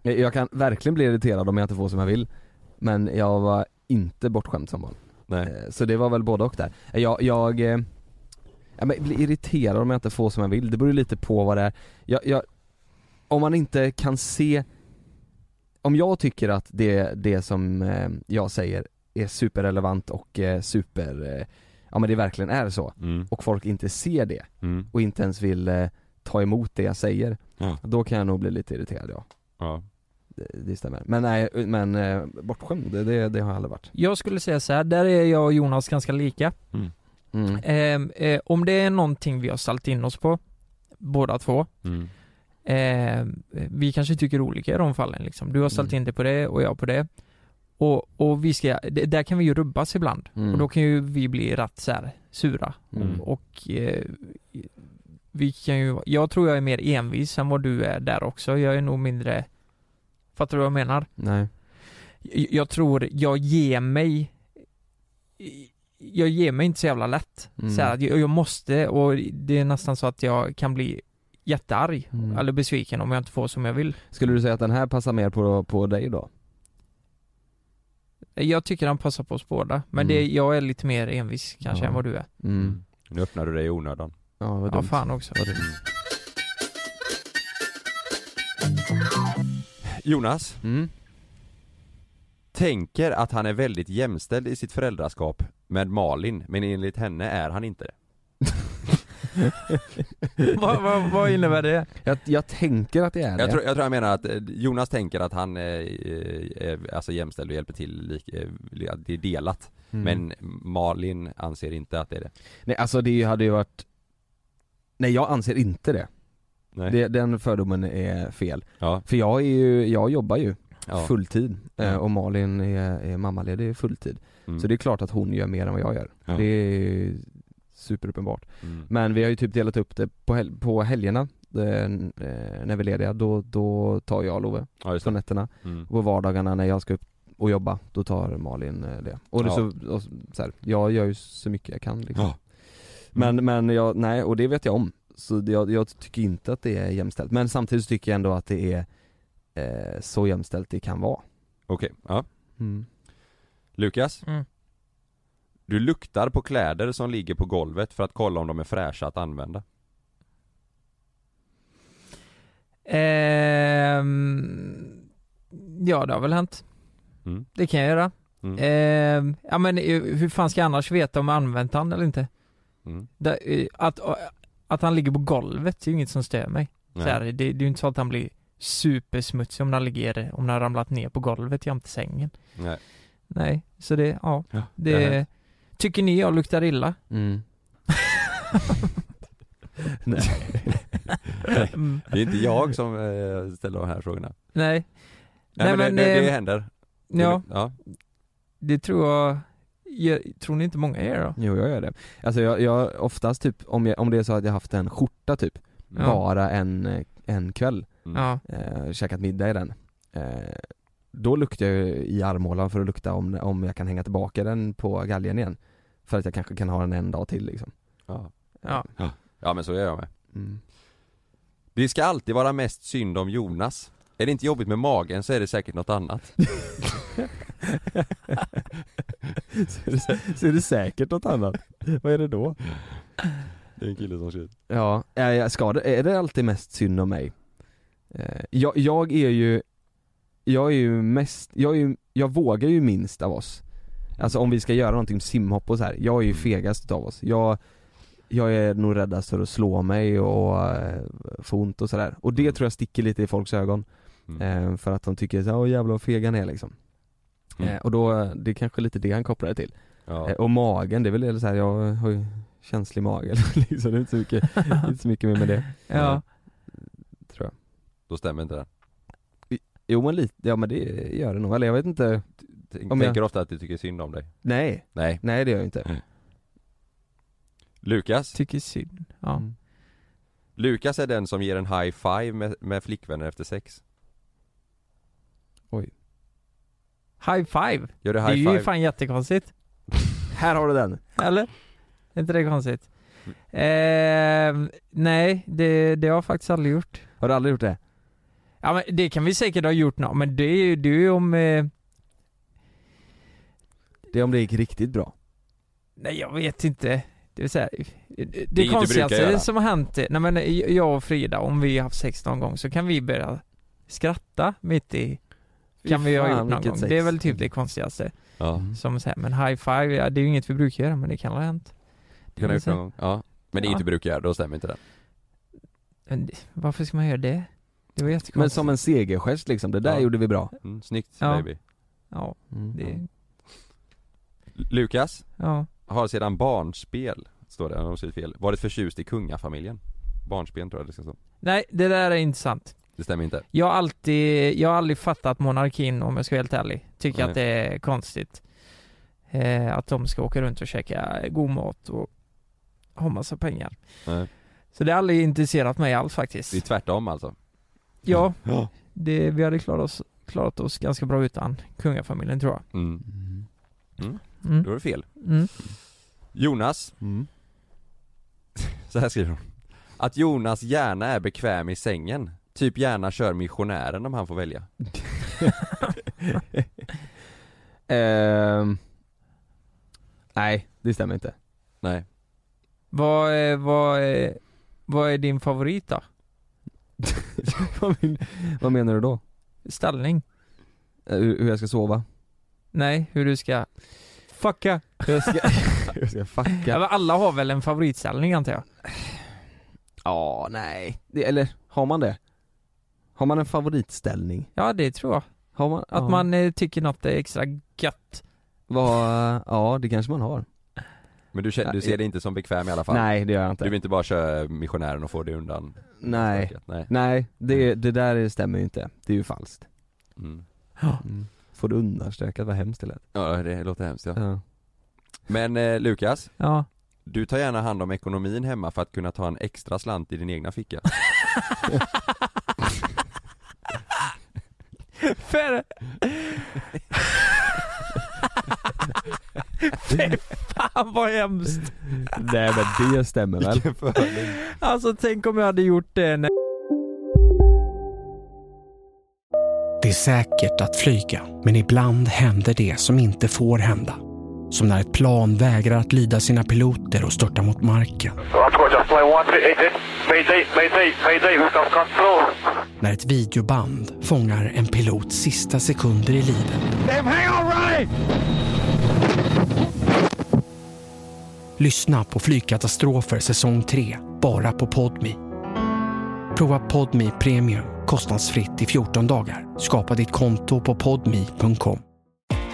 jag kan verkligen bli irriterad om jag inte får som jag vill. Men jag var inte bortskämd som barn.
Nej.
Eh, Så det var väl både och där. Eh, Jag, jag, eh, ja, men jag blir irriterad om jag inte får som jag vill, det beror ju lite på vad det är. Jag, jag, om man inte kan se, om jag tycker att det, det som eh, jag säger är superrelevant och eh, super, eh, ja men det verkligen är så,
Mm.
och folk inte ser det
Mm.
och inte ens vill eh, ta emot det jag säger,
Ja.
då kan jag nog bli lite irriterad ja.
Ja.
Det, det stämmer. Men nej, men eh, bortskämd, det- det, det har jag aldrig varit.
Jag skulle säga så här, där är jag och Jonas ganska lika.
Mm.
Ehm, eh, om det är någonting vi har ställt in oss på, båda två,
Mm.
Eh, vi kanske tycker olika i de fallen liksom. Du har ställt in dig på det och jag på det. Och, och vi ska, det, där kan vi ju rubbas ibland.
Mm.
Och då kan ju vi bli rätt så här, sura.
Mm.
Och eh, vi kan ju, jag tror jag är mer envis än vad du är där också. Jag är nog mindre, fattar du vad jag menar?
Nej.
jag, jag tror, jag ger mig Jag ger mig inte så jävla lätt.
Mm.
Så här, att jag, jag måste och det är nästan så att jag kan bli jättearg
Mm.
eller besviken om jag inte får som jag vill.
Skulle du säga att den här passar mer på, på dig då?
Jag tycker han passar på oss båda, men
Mm.
det, jag är lite mer envis kanske
Ja.
än vad du är.
Mm.
Nu öppnar du dig i onödan.
Ja, vad
Ja
dumt.
fan också.
Vad dumt.
Jonas
Mm.
tänker att han är väldigt jämställd i sitt föräldraskap med Malin, men enligt henne är han inte det.
vad, vad, vad innebär det?
Jag, jag tänker att det är
Jag
det.
tror, jag tror jag menar att eh, Jonas tänker att han eh, är alltså jämställd och hjälper till, lik- eh, att det är delat.
Mm.
Men Malin anser inte att det är det.
Nej alltså det hade ju varit Nej jag anser inte det.
Nej.
det den fördomen är fel.
Ja,
För jag är ju, jag jobbar ju
ja.
fulltid eh,
Ja.
och Malin är, är mammaledig fulltid.
Mm.
Så det är klart att hon gör mer än vad jag gör.
Ja.
Det är superuppenbart.
Mm.
Men vi har ju typ delat upp det på, hel- på helgerna eh, n- eh, när vi är lediga, då, då tar jag Love
Ja, just
på
det.
nätterna.
Mm.
På vardagarna när jag ska upp och jobba, då tar Malin eh, det. Och, det
Ja.
så, och så här, jag gör ju så mycket jag kan liksom.
Ja.
Men, men jag, nej, och det vet jag om. Så det- jag, jag tycker inte att det är jämställt. Men samtidigt så tycker jag ändå att det är eh, så jämställt det kan vara.
Okej, ja.
Mm.
Lukas,
Mm.
du luktar på kläder som ligger på golvet för att kolla om de är fräscha att använda.
Ehm, ja det har väl hänt.
Mm.
Det kan jag göra.
Mm.
Ehm, ja men eh, hur fan ska jag annars veta om jag använt han eller inte?
Mm.
Det, eh, att, att han ligger på golvet det är ju inget som stör mig. Så
Nej.
här, det, det är ju inte så att han blir supersmutsig om han ligger, om han har ramlat ner på golvet jämte sängen.
Nej.
Nej, så det, ja.
Ja, det
Det,
är rätt.
tycker ni jag luktar illa?
Mm. nej.
Mm.
Det är inte jag som eh, ställer de här frågorna.
Nej.
Nej, men, det,
eh,
det, det händer.
ja,
ja.
det tror jag, jag, tror ni inte många gör då?
Jo jag gör det. Alltså jag, jag oftast typ, om, jag, om det är så att jag haft en skjorta typ,
Ja.
bara en, eh, en kväll,
Mm.
Ja,
eh, käkat middag i den. Eh, då luktar jag ju i armhålan för att lukta om, om jag kan hänga tillbaka den på galgen igen. För att jag kanske kan ha den en dag till liksom.
Ja.
Ja.
ja, men så gör jag med.
Mm.
Det ska alltid vara mest synd om Jonas. Är det inte jobbigt med magen så är det säkert något annat.
så, är det, så är det säkert något annat. Vad är det då?
Det är en kille som ser
Ja, är, jag skadad, är det alltid mest synd om mig? Eh, Jag, jag är ju, jag är ju mest, jag, är ju, jag vågar ju minst av oss Alltså om vi ska göra någonting, simhopp och så här. jag är
Mm.
ju fegast av oss Jag, jag är nog räddast för att slå mig och eh, få ont och sådär Och det tror jag sticker lite i folks ögon
Mm.
eh, För att de tycker såhär, åh jävlar vad feg han är liksom
Mm.
eh, Och då, det är kanske lite det han kopplar det till
Ja.
Eh, Och magen, det är väl eller så här, jag har ju känslig mage liksom, det är inte så mycket, inte så mycket mer med det
ja.
tror jag.
Då stämmer inte det.
Jo men lite, ja men det gör det nog, eller jag vet inte
Tänk,
Om jag-
Tänker ofta att du tycker synd om dig.
Nej,
Nej.
nej det gör jag inte
Lukas?
tycker synd. Ja.
Mm.
Lukas är den som ger en high five med, med flickvänner efter sex.
High five!
Gör du
Det är
high
ju
five?
fan jättekonstigt.
Här har du den!
Eller? Är inte det konstigt? Ehm, nej, det, det har jag faktiskt aldrig gjort.
Har du aldrig gjort det?
Ja men det kan vi säkert ha gjort nå, men det är ju, det är ju om... Eh,
Det är om det gick riktigt bra
nej jag vet inte. Det vill säga, det,
du
det
brukar
konstigaste
göra.
som har hänt, är- nej men eh, jag och Frida, om vi har haft sex någon gång så kan vi börja skratta mitt i kan vi ha
fan,
gjort någon
vilket
gång.
sex. Mm.
Det är väl typ det konstigaste.
Ja.
Som så här, men high five, ja, det är ju inget vi brukar göra men det kan ha hänt.
Kan
Det
du ha
vill
gjort
säga-
någon gång? Ja. Men det är
Ja.
inte brukar göra, då stämmer inte det.
Men det- Varför ska man göra det? Det var jättekonstigt.
Men som en segergest liksom, det där
Ja.
gjorde vi bra
Mm, snyggt
Ja.
baby.
Ja, det...
Lukas
Ja.
har sedan barnspel, står det, om jag skrivit fel, varit förtjust i kungafamiljen. Barnspel tror jag det ska stå.
Nej, det där är inte sant.
Det stämmer inte.
Jag har alltid, jag har aldrig fattat monarkin om jag ska vara helt ärlig. Tycker
Nej.
att det är konstigt. Eh, att de ska åka runt och käka god mat och ha massa pengar.
Nej.
Så det har aldrig intresserat mig alls
Det är
faktiskt.
tvärtom alltså.
Ja,
Ja.
det, vi hade klarat oss, klarat oss ganska bra utan kungafamiljen tror jag.
Mm.
Mm.
Då
Mm.
är det fel.
Mm.
Jonas,
Mm.
så här skriver hon. Att Jonas gärna är bekväm i sängen. Typ gärna kör missionären om han får välja.
Ehm. nej, det stämmer inte.
Nej.
Vad, är, vad, är, vad är din favorit då?
vad, men, vad menar du då?
Ställning?
Eh, Hur, hur jag ska sova?
Nej, hur du ska... Fucka!
Jag ska, jag ska fucka.
Ja. men alla har väl en favoritställning antar jag?
Ja, nej. Det, eller har man det? Har man en favoritställning?
Ja det tror jag.
Har man?
Att
ja.
man eh, tycker något är extra gött.
Vad- ja, det kanske man har.
Men du, känner, du ser det inte som bekväm i alla fall?
Nej, det gör jag
Du
inte.
vill inte bara köra missionären och få det undan?
Nej.
Stöket? Nej.
Nej, det, det där stämmer ju inte. Det är ju falskt.
Mm.
Får du undanstökat, vad hemskt det lät.
Ja, det låter hemskt ja.
Ja.
Men eh, Lukas,
Ja.
du tar gärna hand om ekonomin hemma för att kunna ta en extra slant i din egna ficka.
För... Fy fan vad hemskt!
Nej men det stämmer väl?
Alltså tänk om jag hade gjort det när...
Det är säkert att flyga, men ibland händer det som inte får hända. Som när ett plan vägrar att lyda sina piloter och störtar mot marken.
Roger, just play one, mayday, mayday, mayday, mayday, we've got control.
När ett videoband fångar en pilots sista sekunder i livet. Lyssna på Flygkatastrofer säsong 3, bara på Podmi. Prova Podmi Premium kostnadsfritt i 14 dagar. Skapa ditt konto på podmi.com.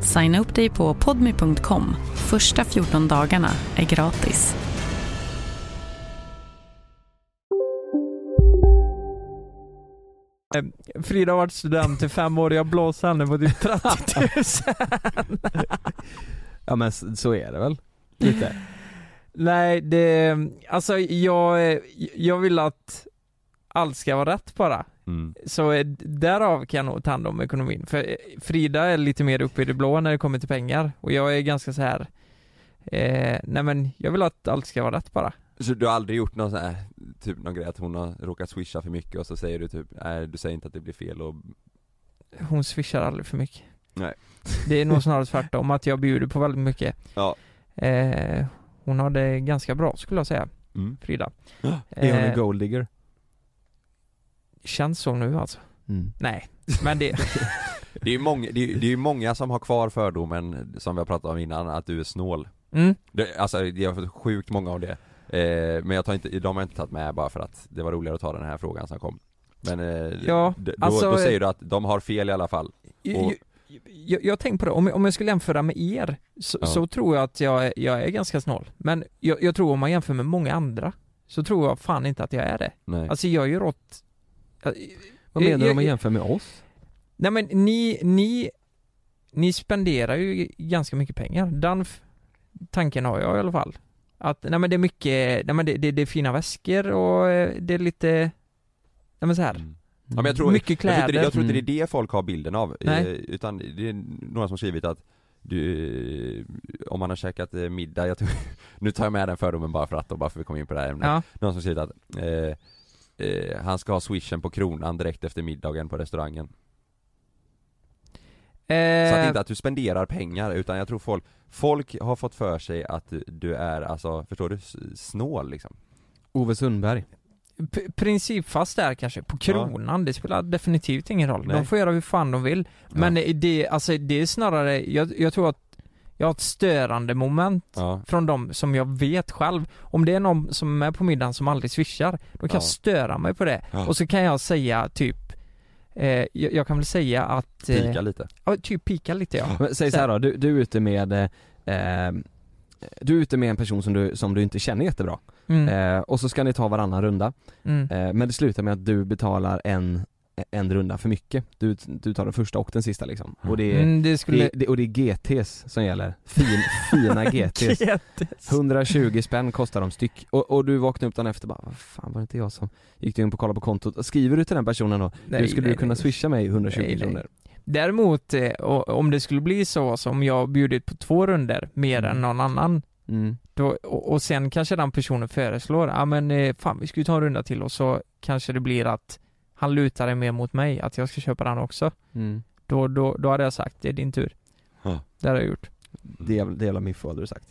Signa upp dig på podmi.com. Första 14 dagarna är gratis.
Frida har varit student i fem år och jag blåser henne på typ 30 000.
Ja men s- så är det väl? Lite.
Nej det... Alltså jag... Jag vill att allt ska vara rätt bara.
Mm.
Så eh, därav kan jag nog ta hand om ekonomin. För eh, Frida är lite mer uppe i det blå när det kommer till pengar och jag är ganska så här. Eh, nej men jag vill att allt ska vara rätt bara.
Så du har aldrig gjort någon sån här, typ någon grej att hon har råkat swisha för mycket och så säger du typ, nej du säger inte att det blir fel och
Hon swishar aldrig för mycket.
Nej.
Det är nog snarare tvärtom att jag bjuder på väldigt mycket.
Ja.
Eh, hon har det ganska bra skulle jag säga,
mm.
Frida.
Är hon en
Eh,
golddigger?
känns så nu alltså.
Mm.
Nej, men det...
Det är ju många, det är, det är ju många som har kvar fördomen som vi har pratat om innan, att du är snål
Mm.
det, Alltså jag har fått sjukt många av det eh, Men jag tar inte, de har jag inte tagit med bara för att det var roligare att ta den här frågan som kom Men eh,
Ja,
d- då,
alltså-
då säger du att de har fel i alla fall Och-
Jag, jag, jag har tänkt på det, om jag, om jag skulle jämföra med er så,
Ja.
så tror jag att jag, är- jag är ganska snål. Men jag, jag tror om man jämför med många andra så tror jag fan inte att jag är det.
Nej.
Alltså jag gör åt... jag-
Vad menar du om man
jag-
jämför med oss?
Nej men ni, ni, ni spenderar ju ganska mycket pengar. Den f- tanken har jag i alla fall. Att, nej men det är mycket, nej men det, det, det är fina väskor och eh, det är lite, nej men så här.
Mm. Ja, men jag tror,
mycket
Jag tror,
kläder.
inte, det- jag tror inte
Mm.
det är det folk har bilden av,
Nej.
eh, utan det är några som har skrivit att du, eh, om man har käkat eh, middag, jag tror, nu tar jag med den fördomen bara för att och bara för att vi kom in på det här ämnet.
Mm. Ja,
Någon som skrivit att eh, eh, han ska ha swishen på kronan direkt efter middagen på restaurangen. Så att inte att du spenderar pengar, utan jag tror folk, folk har fått för sig att du- du är alltså, förstår du, S- snål liksom
Ove Sundberg
P- principfast där kanske, på kronan, det spelar definitivt ingen roll.
Nej.
De får göra hur fan de vill. Men det, alltså, det är snarare, jag, jag tror att jag har ett störande moment från de som jag vet själv. Om det är någon som är med på middagen som aldrig swishar, då kan
Ja.
jag störa mig på det.
Ja.
Och så kan jag säga typ, eh, jag, jag kan väl säga att... Eh,
Pika lite.
Ja, typ pika lite ja.
Men säg så här då, du, du är ute med eh, eh, Du är ute med en person som du, som du inte känner jättebra
Mm.
eh, Och så ska ni ta varannan runda
Mm.
eh, Men det slutar med att du betalar en, en runda för mycket Du, du tar den första och den sista liksom Och det är,
Mm, det skulle-
det, det, och det är GTs som gäller, fin, fina GTs 120 spänn kostar de styck och, och du vaknar upp dagen efter och bara, vad fan var det inte jag som gick in på kolla på kontot? Skriver du till den personen då,
Nej,
du skulle
nej,
du kunna
nej.
swisha mig 120
Nej, nej.
kronor?
Däremot, eh, o- om det skulle bli så som jag bjudit på två runder mer än någon annan
Mm.
då, och, och sen kanske den personen föreslår, ja ah, men eh, fan vi ska ju ta en runda till och så kanske det blir att han lutar det mer mot mig, att jag ska köpa den också.
Mm.
Då, då, då hade jag sagt, det är din tur.
Ja.
Det hade jag gjort.
Det jävla, det jävla miffo hade du sagt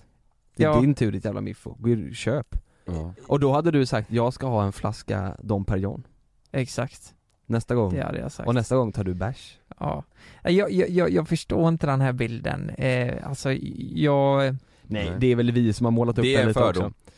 Det är
Ja.
din tur ditt jävla miffo, gå och köp
Ja.
Och då hade du sagt, jag ska ha en flaska Dom Perignon
Exakt.
Nästa gång
Det hade jag sagt.
Och nästa gång tar du bärs
Ja. Jag, jag, jag, jag förstår inte den här bilden. Eh, alltså, jag...
Nej, det är väl vi som har målat upp
Det är
den
en
lite
fördom.
också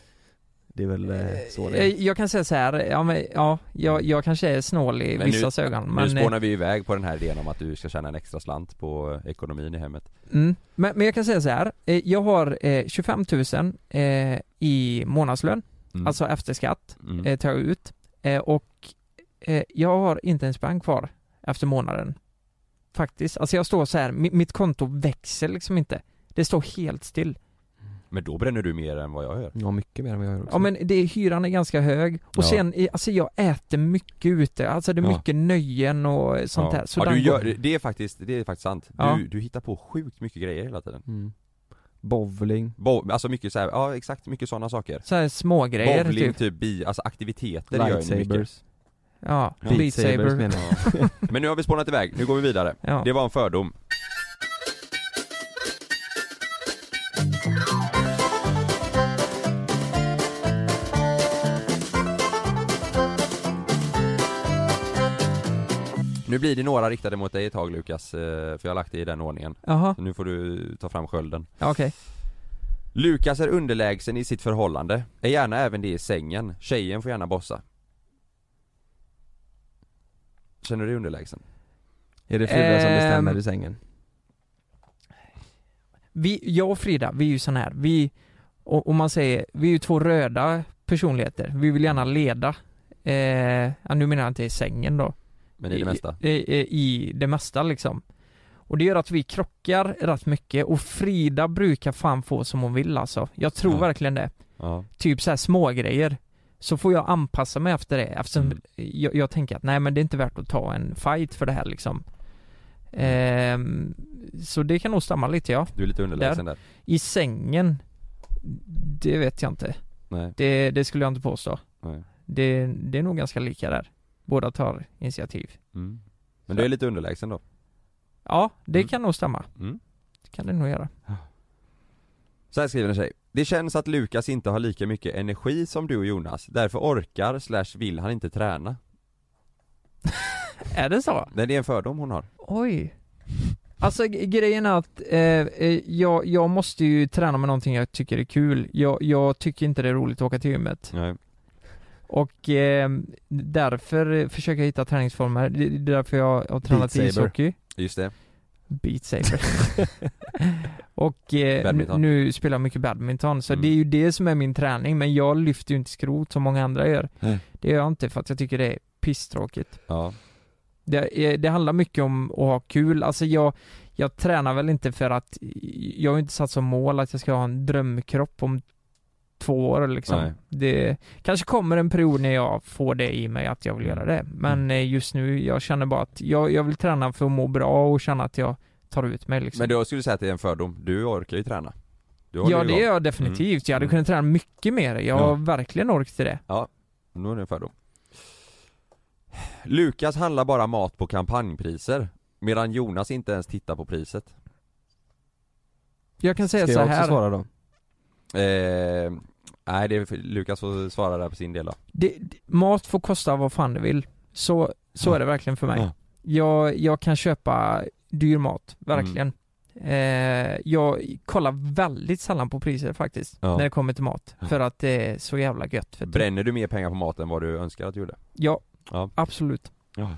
Det är väl eh, så det är
Eh, Jag kan säga så här, ja, men, ja jag, jag kanske är snål i vissas
nu,
ögon
nu
men, eh,
spånar vi iväg på den här idén om att du ska tjäna en extra slant på eh, ekonomin i hemmet
mm, men, men jag kan säga så här, eh, jag har eh, 25 000 eh, i månadslön,
Mm.
alltså efter skatt,
Mm.
eh, tar jag ut eh, och eh, jag har inte en spänn kvar efter månaden. Faktiskt, alltså jag står så här, mi- mitt konto växer liksom inte. Det står helt still.
Men då bränner du mer än vad jag gör
Ja mycket mer än vad jag gör också
Ja men det, hyran är ganska hög och
Ja.
sen, i- alltså jag äter mycket ute, alltså det är
Ja.
mycket nöjen och sånt
ja.
där. Så
ja, du
den
gör,
går-
det är faktiskt, det är faktiskt sant.
Ja.
Du, du hittar på sjukt mycket grejer hela tiden
mm. Bowling
Bo, Alltså mycket så här, ja exakt, mycket sådana saker
Så här smågrejer
Bowling,
typ.
typ. bi, alltså aktiviteter gör ju mycket
Lightsabers
Ja,
Ja.
Beat
Beat Sabers
Saber.
menar jag
Men nu har vi spånat iväg, nu går vi vidare
Ja.
Det var en fördom Nu blir det några riktade mot dig ett tag Lukas, eh, för jag har lagt det i den ordningen
Jaha,
Så nu får du ta fram skölden
ja, okej.
Lukas är underlägsen i sitt förhållande, är gärna även det i sängen, tjejen får gärna bossa Känner du dig underlägsen?
Är det Frida som
Ehm.
bestämmer i sängen?
Vi, jag och Frida, vi är ju sån här, vi, och, och man säger, vi är ju två röda personligheter. Vi vill gärna leda. Eh, ja, nu menar jag inte i sängen då.
Men i det mesta?
I, i, i det mesta liksom. Och det gör att vi krockar rätt mycket och Frida brukar fan få som hon vill alltså. Jag tror
Ja.
verkligen det.
Ja,
Typ så här små grejer Så får jag anpassa mig efter det eftersom
Mm.
jag, jag tänker att nej men det är inte värt att ta en fight för det här liksom.
Mm.
Ehm, så det kan nog stämma lite ja.
du är lite underlägsen där,
I sängen, det vet jag inte.
Nej,
Det, det skulle jag inte påstå.
nej
Det, det är nog ganska lika där. Båda tar initiativ.
mm. Men du är lite underlägsen då?
Ja, det
Mm.
kan nog stämma.
Mm.
Det kan det nog göra.
Så här skriver en tjej Det känns att Lukas inte har lika mycket energi som du och Jonas, därför orkar slash vill han inte träna
Är det så?
Nej, Det är en fördom hon har
Oj. Alltså g- grejen är att eh, eh, jag, jag måste ju träna med någonting jag tycker är kul. Jag, jag tycker inte det är roligt att åka till gymmet.
Nej.
Och eh, därför eh, försöker jag hitta träningsformer. Det det är därför jag har tränat i
Saber.
ishockey.
Just det,
Beat Saber. och eh, nu,
Badminton.
nu spelar jag mycket badminton. Så
Mm.
det är ju det som är min träning. Men jag lyfter ju inte skrot som många andra gör.
Nej.
Det gör jag inte för att jag tycker det är pisstråkigt.
ja,
Det, är- det handlar mycket om att ha kul. Alltså jag, jag tränar väl inte för att, jag har ju inte satt som mål att jag ska ha en drömkropp om två år
Nej.
liksom. Det kanske kommer en period när jag får det i mig att jag vill göra
Mm.
det. Men eh, just nu, jag känner bara att jag, jag vill träna för att må bra och känna att jag tar ut mig liksom.
men då skulle du säga att det är en fördom, du orkar ju träna du håller
ja
ju
det
igång.
gör jag definitivt. Jag hade
Mm.
kunnat träna mycket mer. Jag
Ja.
har verkligen ork till det.
Nu är det en fördom Lukas handlar bara mat på kampanjpriser Medan Jonas inte ens tittar på priset.
Jag kan säga
Ska
så
jag också
här.
svara då? Eh, nej, det är för, Lukas får svara där på sin del då.
det, det- mat får kosta vad fan det vill. Så, så är det verkligen för mig.
Ja.
Jag, jag kan köpa dyr mat,
Mm.
verkligen. Eh, jag kollar väldigt sällan på priser faktiskt,
Ja.
när det kommer till mat. För att det är så jävla gött.
typ-
För
Bränner du mer pengar på mat än vad du önskar att du gjorde?
Ja,
Ja.
absolut.
Ja.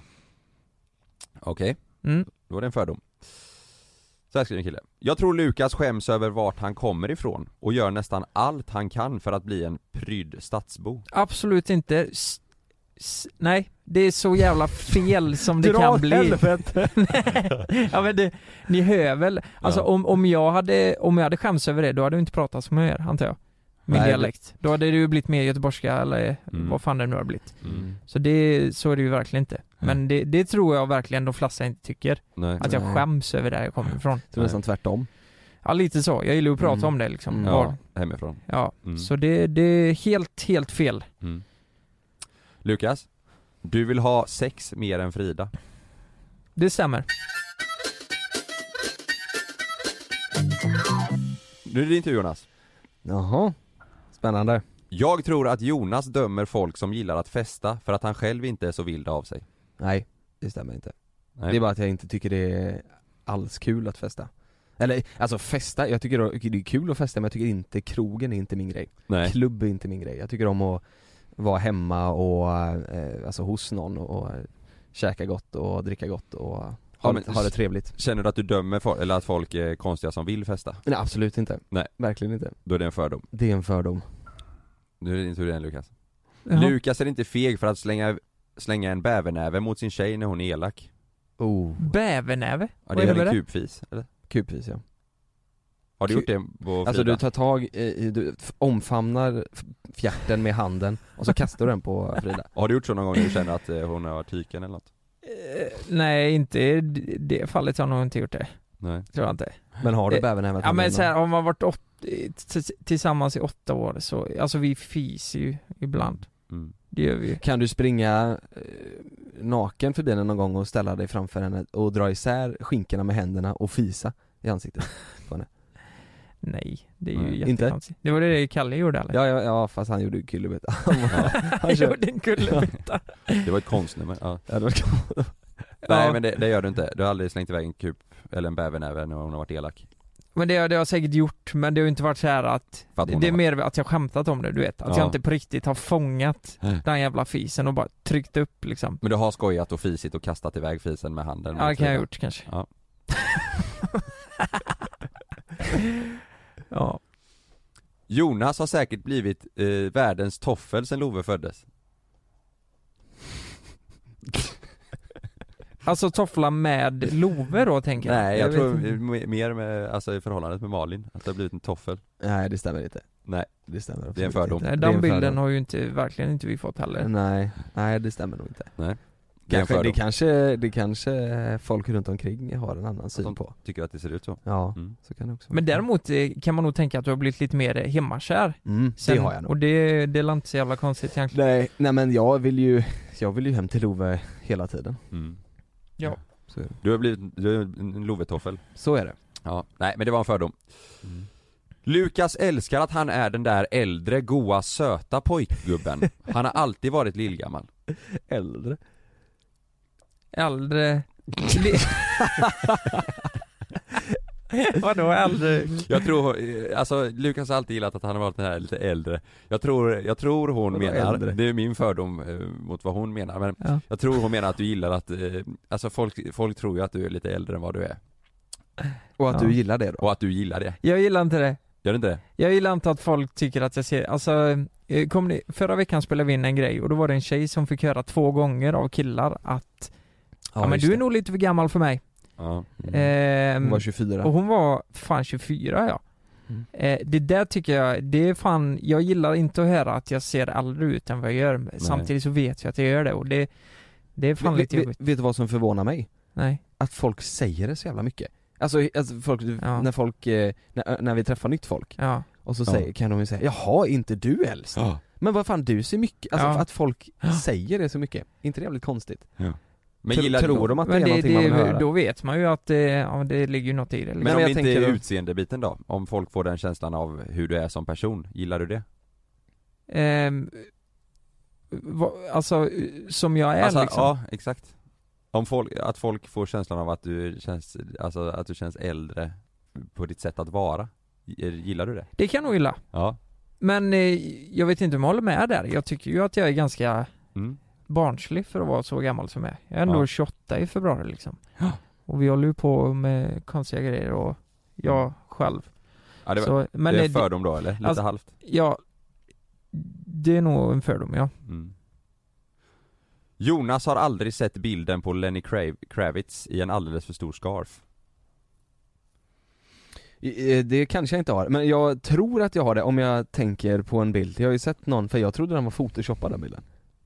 Okej,
Mm.
då var det en fördom. Så här skriver en kille. Jag tror Lukas skäms över vart han kommer ifrån och gör nästan allt han kan för att bli en prydd stadsbo.
Absolut inte. S- s- nej, det är så jävla fel som det
Dra
kan
åt
bli.
helvete.
ja men det, ni hör väl? Alltså
Ja.
om, om jag hade, om jag hade skämts över det, då hade du inte pratat som jag gör, antar jag. Min
Nej, det-
dialekt. Då hade det ju blivit mer göteborgska eller
Mm.
vad fan det nu har blivit.
Mm.
Så det, så är det ju verkligen inte. Men det, det tror jag verkligen de flesta inte tycker.
Nej.
Att jag
Nej.
skäms över där jag kommer ifrån.
Så nästan tvärtom.
Ja lite så, jag gillar ju att prata
Mm.
om det liksom.
Mm.
Var-
Ja, hemifrån.
Ja,
Mm.
så det, det är helt, helt fel.
Mm. Lukas, du vill ha sex mer än Frida.
Det stämmer.
Nu är det inte Jonas.
Jaha. Spännande.
Jag tror att Jonas dömer folk som gillar att festa för att han själv inte är så vild av sig.
Nej, det stämmer inte.
Nej.
Det är bara att jag inte tycker det är alls kul att festa. Eller alltså festa, jag tycker det är kul att festa men jag tycker inte krogen är inte min grej.
Nej.
Klubb är inte min grej. Jag tycker om att vara hemma och, eh, alltså hos någon och eh, käka gott och dricka gott och ha,
Ja, men-
ha det trevligt.
Känner du att du dömer folk, eller att folk är konstiga som vill festa?
Nej absolut inte.
Nej.
Verkligen inte.
Då är det en fördom.
Det är en fördom.
Nu är det din tur igen Lukas.
Jaha.
Lukas är inte feg för att slänga, slänga en bävernäve mot sin tjej när hon är elak.
Oh,
Bävernäve?
Ja,
Vad
det är väl
innebär
en
det?
kupfis, eller?
kupvis ja.
Har du
Ku-
gjort det på
Alltså
Frida?
du tar tag i, i- du f- omfamnar f- fjärten med handen och så kastar du den på Frida.
Har du gjort så någon gång när du känner att eh, hon har varit tyken eller något?
Eh, Nej, inte i d- det fallet har jag nog inte gjort det.
Nej.
Tror jag inte.
Men har du
Eh,
bävernäven?
Ja men så här, om man varit åt, eh, t- tillsammans i åtta år så, alltså vi fiser ju ibland.
Mm.
Det gör vi ju.
Kan du springa eh, naken förbi henne någon gång och ställa dig framför henne och dra isär skinkorna med händerna och fisa i ansiktet?
Nej, det är ju
Nej,
inte?
jättekonstigt. Det var det Kalle gjorde eller?
Ja, ja, ja fast han gjorde ju kullerbytta. Han var-
han
han kör-
gjorde en kullerbytta.
Det var ett konstnummer, ja.
ja, det var kul.
Nej men det, det gör du inte, du har aldrig slängt iväg en kup eller en bävernäve när hon har varit elak?
Men det, har- det har jag säkert gjort, men det har ju inte varit så här att,
För att hon
det är
har
mer att jag skämtat om det du vet. Att
Ja. Äh.
jag inte på riktigt har fångat
Nej.
den jävla fisen och bara tryckt upp liksom.
Men du har skojat och fisit och kastat iväg fisen med handen?
Ja det
mot
kan jag
Frida.
ha gjort kanske.
Ja.
ja.
Jonas har säkert blivit eh, världens toffel sen Love föddes.
Alltså toffla med Love då tänker jag?
Nej jag,
vet
tror
inte.
m- mer med, alltså i förhållandet med Malin, att det har blivit en toffel.
Nej det stämmer inte.
Nej.
Det stämmer
Det är en
absolut
fördom.
inte.
Nej,
Det är
den
en
bilden
fördom.
har ju inte, verkligen inte vi fått heller.
Nej, nej det stämmer nog inte.
Det är en
Kanske, det,
fördom.
kanske, det kanske folk runt omkring har en annan syn
de-
på.
Tycker att det ser ut så.
Ja,
Mm.
så kan det också vara.
Men däremot eh, kan man nog tänka att du har blivit lite mer eh, hemmakär.
mm,
sen.
det har jag nog.
Och det, det är inte så jävla konstigt egentligen.
Nej, nej men jag vill ju, jag vill ju hem till Love hela tiden.
Mm.
Ja.
Så, är det.
Du har blivit, du är en Love-toffel.
så är det.
Ja, nej men det var en fördom. Mm. Lukas älskar att han är den där äldre, goa, söta pojkgubben. Han har alltid varit lillgammal.
Äldre.
Äldre... Vadå äldre?
Jag tror, eh, alltså Lukas har alltid gillat att han har varit den här lite äldre Jag tror, jag tror hon
Vadå
menar,
äldre?
det är min fördom eh, mot vad hon menar men
Ja.
Jag tror hon menar att du gillar att, eh, alltså folk, folk tror ju att du är lite äldre än vad du är
Och att
Ja.
du gillar det då?
Och att du gillar det,
Jag gillar inte det.
gör du inte det?
Jag gillar inte att folk tycker att jag ser, alltså, eh, kom ni, förra veckan spelade vi in en grej och då var det en tjej som fick höra två gånger av killar att Ja, men
just
du är
det. Mm.
nog lite för gammal för mig.
Ja, Mm.
Ehm,
Hon var 24.
och hon var fan 24 ja.
Mm.
Eh, det där tycker jag, det är fan, jag gillar inte att höra att jag ser äldre ut än vad jag gör. Samtidigt så vet jag att jag gör det och det, det är fan
Vet-
lite
vet-
jobbigt.
Vet du vad som förvånar mig?
Nej.
Att folk säger det så jävla mycket. Alltså, alltså folk,
Ja.
när folk, eh, när, när vi träffar nytt folk
Ja.
och så
Ja.
säger, kan de ju säga 'Jaha, är inte du äldst?' Men vad fan, du ser mycket, alltså
Ja.
att folk
Ja.
säger det så mycket, är inte det jävligt konstigt?
Men
Tro-
gillar
tror de att det
Men
är
det,
någonting man vill
det,
höra?
då vet man ju att det, ja, det ligger ju något i det.
Men
liksom.
om det inte är utseendebiten då? Om folk får den känslan av hur du är som person, gillar du det?
Ehm, va, alltså, som jag är
alltså,
liksom.
ja, exakt Om folk, att folk får känslan av att du känns, alltså att du känns äldre på ditt sätt att vara Gillar du det?
Det kan jag nog gilla.
Ja
Men eh, jag vet inte om jag håller med där. Jag tycker ju att jag är ganska
Mm.
barnslig för att vara så gammal som jag är. Jag är ändå
Ja.
28 i februari liksom. Och vi håller ju på med konstiga grejer och jag själv.
Mm. Ja, det, var,
Så- men
det är
det-
en fördom då eller? Lite
alltså-
halvt?
Ja, det är nog en fördom ja.
Mm. Jonas har aldrig sett bilden på Lenny Krav- Kravitz i en alldeles för stor scarf
I- eh, Det kanske jag inte har, men jag tror att jag har det om jag tänker på en bild. Jag har ju sett någon, för jag trodde den var photoshoppad den bilden.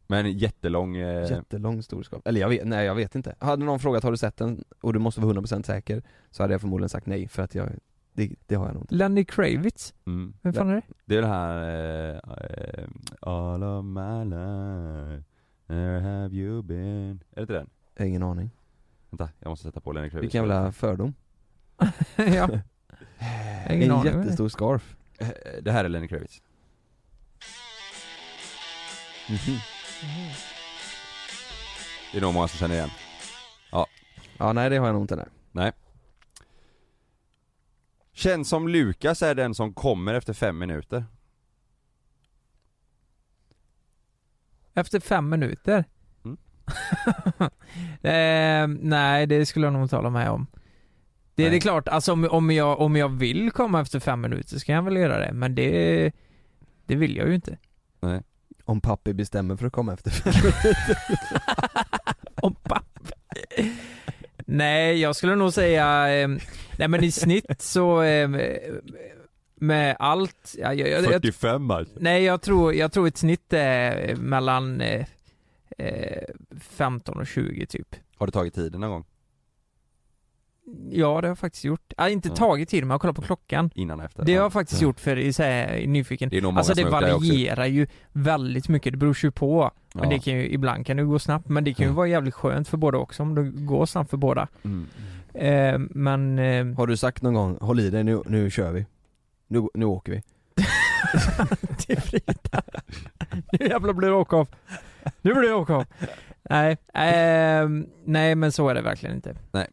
Men jättelång, eh,
Jättelång storskap. Eller jag vet, nej jag vet inte. Hade någon frågat har du sett den och du måste vara 100% säker så hade jag förmodligen sagt nej för att jag, det, det har jag nog inte.
Lenny Kravitz,
mm.
vem fan är det?
Det är den här eh, eh, All of my life, where have you been? Är det inte den?
Jag har Ingen aning.
Vänta, jag måste sätta på Lenny Kravitz
Vilken jävla fördom.
ja. Ingen
en
aning vem det är.
jättestor scarf.
Eh, Det här är Lenny Kravitz
Mhm.
Det är nog många som känner igen
Ja nej det har jag nog inte nej.
Känns som Lukas är den som kommer efter fem minuter
Efter fem minuter?
Mm.
eh, nej, det skulle jag nog inte hålla med om. Det, det är
Nej.
klart, alltså om, om, jag, om jag vill komma efter fem minuter ska jag väl göra det, men det, det vill jag ju inte.
Om pappi bestämmer för att komma efter
Om papp. nej, jag skulle nog säga, eh, nej men i snitt så, eh, med allt, ja, jag, jag, jag,
45 alltså
Nej, jag tror, jag tror ett snitt är mellan eh, eh, 15 och 20 typ.
Har du tagit tiden någon gång?
Ja, det har jag faktiskt gjort. Jag har inte
Ja.
tagit tid, men jag har kollat på klockan.
Innan och efter?
Det har
Ja.
jag faktiskt gjort för i så här, nyfiken.
Det är nog många
Alltså
som
det
har gjort också.
varierar ju väldigt mycket, det beror ju på. Men
Ja.
det kan ju, ibland kan det gå snabbt, men det kan ju
Ja.
vara jävligt skönt för båda också om det går snabbt för båda.
Mm.
Eh, men... Eh,
Har du sagt någon gång, håll i dig nu, nu kör vi. Nu, nu åker vi.
till Frida. Nu jävlar blir det åka av. Nu blir det åka av. Nej, ehm, nej men så är det verkligen inte.
Nej.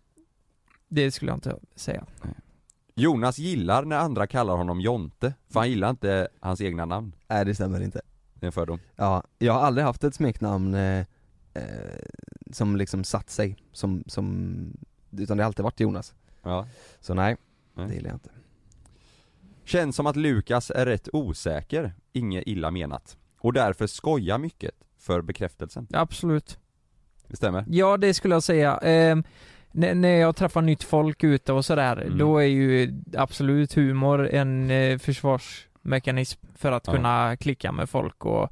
Det skulle jag inte säga.
Jonas gillar när andra kallar honom Jonte, för han gillar inte hans egna namn
Nej det stämmer inte.
Det är en fördom
Ja, jag har aldrig haft ett smeknamn eh, eh, som liksom satt sig, som, som, utan det har alltid varit Jonas.
ja.
Så nej,
Nej.
det gillar jag inte.
Känns som att Lukas är rätt osäker, inget illa menat Och därför skojar mycket för bekräftelsen
Absolut.
Det stämmer?
Ja det skulle jag säga. Ehm, när, när jag träffar nytt folk ute och sådär,
Mm.
då är ju absolut humor en eh, försvarsmekanism för att
Ja.
kunna klicka med folk och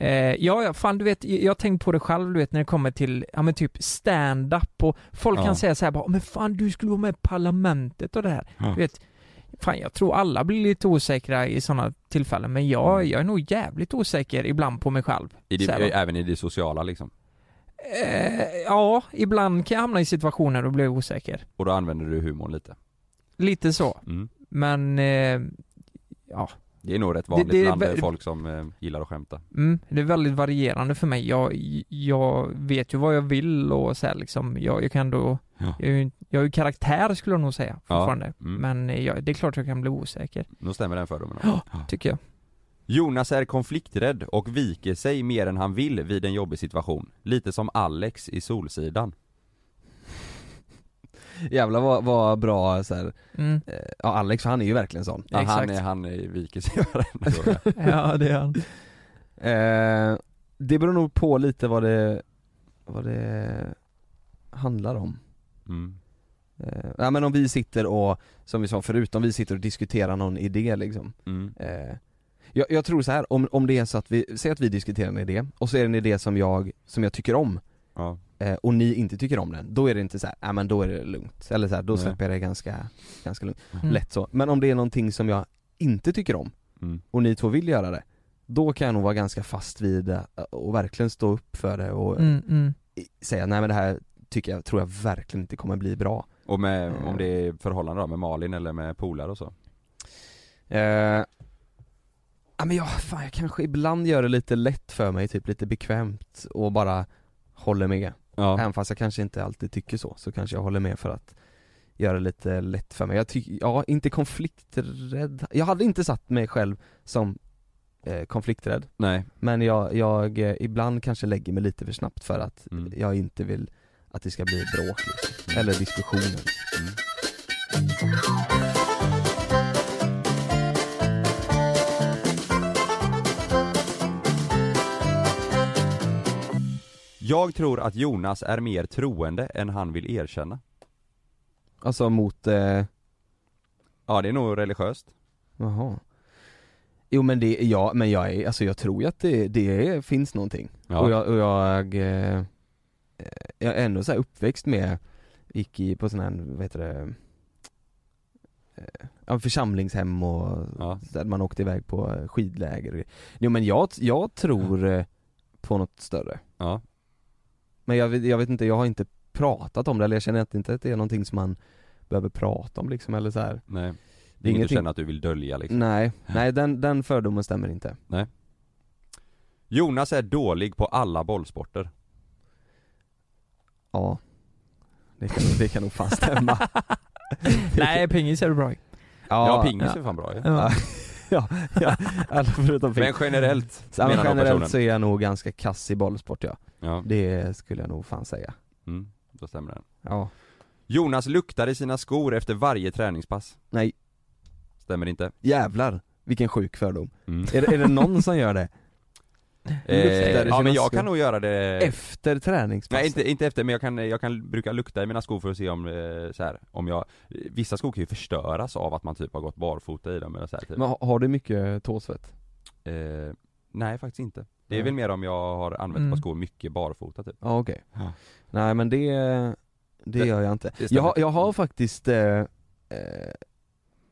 Eh, ja, ja, fan du vet, jag jag har tänkt på det själv du vet när det kommer till, ja men typ stand-up och folk
Ja.
kan säga så här bara, men fan du skulle vara med i Parlamentet och det här.
Ja.
Du vet, fan jag tror alla blir lite osäkra i sådana tillfällen men jag,
Mm.
jag är nog jävligt osäker ibland på mig själv.
I det,
Så här, va?
även i det sociala liksom
Eh, ja, ibland kan jag hamna i situationer och bli osäker.
Och då använder du humorn lite
Lite så,
mm.
men eh,
Det är nog rätt vanligt
det är
bland
vä-
folk som eh, gillar att skämta
mm, det är väldigt varierande för mig. Jag, jag vet ju vad jag vill och så här, liksom, jag, jag kan då,
Ja.
jag, är ju- jag är ju karaktär skulle jag nog säga fortfarande.
mm.
Men eh, jag, det är klart jag kan bli osäker,
Då stämmer den fördomen
Ja. tycker jag.
Jonas är konflikträdd och viker sig mer än han vill vid en jobbig situation. Lite som Alex i Solsidan.
Jävlar vad, vad bra så här,
Mm,
eh, ja Alex för han är ju verkligen sån.
Ja, han,
exakt.
är, han är, viker sig varenda fråga.
Ja, det är han.
Eh, det beror nog på lite vad det, vad det handlar om.
Mm.
Eh, ja men om vi sitter och, som vi sa förut, om vi sitter och diskuterar någon idé liksom.
Mm.
Eh, jag, jag tror så här, om, om det är så att vi, säg att vi diskuterar en idé och så är det en idé som jag, som jag tycker om
Ja.
eh, och ni inte tycker om den, då är det inte så här, nej men då är det lugnt. Eller så här, då
Nej.
släpper jag det ganska, ganska lugnt.
Mm.
Lätt så. Men om det är någonting som jag inte tycker om
Mm.
och ni två vill göra det, då kan jag nog vara ganska fast vid det eh, och verkligen stå upp för det och
Mm, mm.
säga nej men det här tycker jag, tror jag verkligen inte kommer bli bra.
Och med, om det är förhållande då, med Malin eller med polare och så?
Eh, ja men jag, fan, jag kanske ibland gör det lite lätt för mig, typ lite bekvämt och bara håller med.
Ja.
Även fast jag kanske inte alltid tycker så, så kanske jag håller med för att göra det lite lätt för mig. Jag tycker, ja inte konflikträdd. Jag hade inte satt mig själv som eh, konflikträdd,
Nej.
men jag, jag eh, ibland kanske lägger mig lite för snabbt för att
Mm.
jag inte vill att det ska bli bråk liksom. eller diskussioner.
Jag tror att Jonas är mer troende än han vill erkänna.
Alltså mot, eh,
Ja, det är nog religiöst.
jaha. Jo men det, ja men jag är, alltså jag tror ju att det, det är, finns någonting.
Ja.
Och jag, och jag, eh, jag är ändå så här uppväxt med, gick i, på sån här, vad heter det, eh, ja, församlingshem och
Ja.
där man åkte iväg på eh, skidläger och grejer. Jo men jag, jag tror eh, på något större.
Mm. Ja.
Men jag, vet- jag vet inte, jag har inte pratat om det eller jag känner inte att det är någonting som man behöver prata om liksom eller så här.
Nej. Det är inget
Ingenting.
du
Mm.
känner att du vill dölja liksom.
Nej, nej den, den fördomen stämmer inte.
Jonas är dålig på alla bollsporter.
Ja. Det kan, det kan nog fan stämma.
Nej, pingis är det bra i.
Ja, pingis är fan bra ju.
Ja.
Alltså förutom
Men
pingis.
generellt,
Men
menar den personen.
generellt så är jag nog ganska kass i bollsport ja.
Ja,
Det skulle jag nog fan säga.
mm, då stämmer den.
Ja.
Jonas luktar i sina skor efter varje träningspass.
Nej.
Stämmer inte.
Jävlar, vilken sjuk fördom.
Mm.
Är, det- är det någon som gör det? Luktar
Eh,
i
ja
sina
men jag
skor.
kan nog göra det
eh, Efter träningspass?
Nej inte, inte efter, men jag kan, jag kan brukar lukta i mina skor för att se om, eh, så här, om jag Vissa skor kan ju förstöras av att man typ har gått barfota i dem eller så här, typ.
Men har- har du mycket tåsvett?
eh, Nej faktiskt inte Det är
Nej.
väl mer om jag har använt ett
Mm.
par skor mycket barfota typ
Ja okej.
Ja.
Nej men det, det
Det-
gör jag inte.
det stämmer.
Jag, har- jag har faktiskt, eh, eh,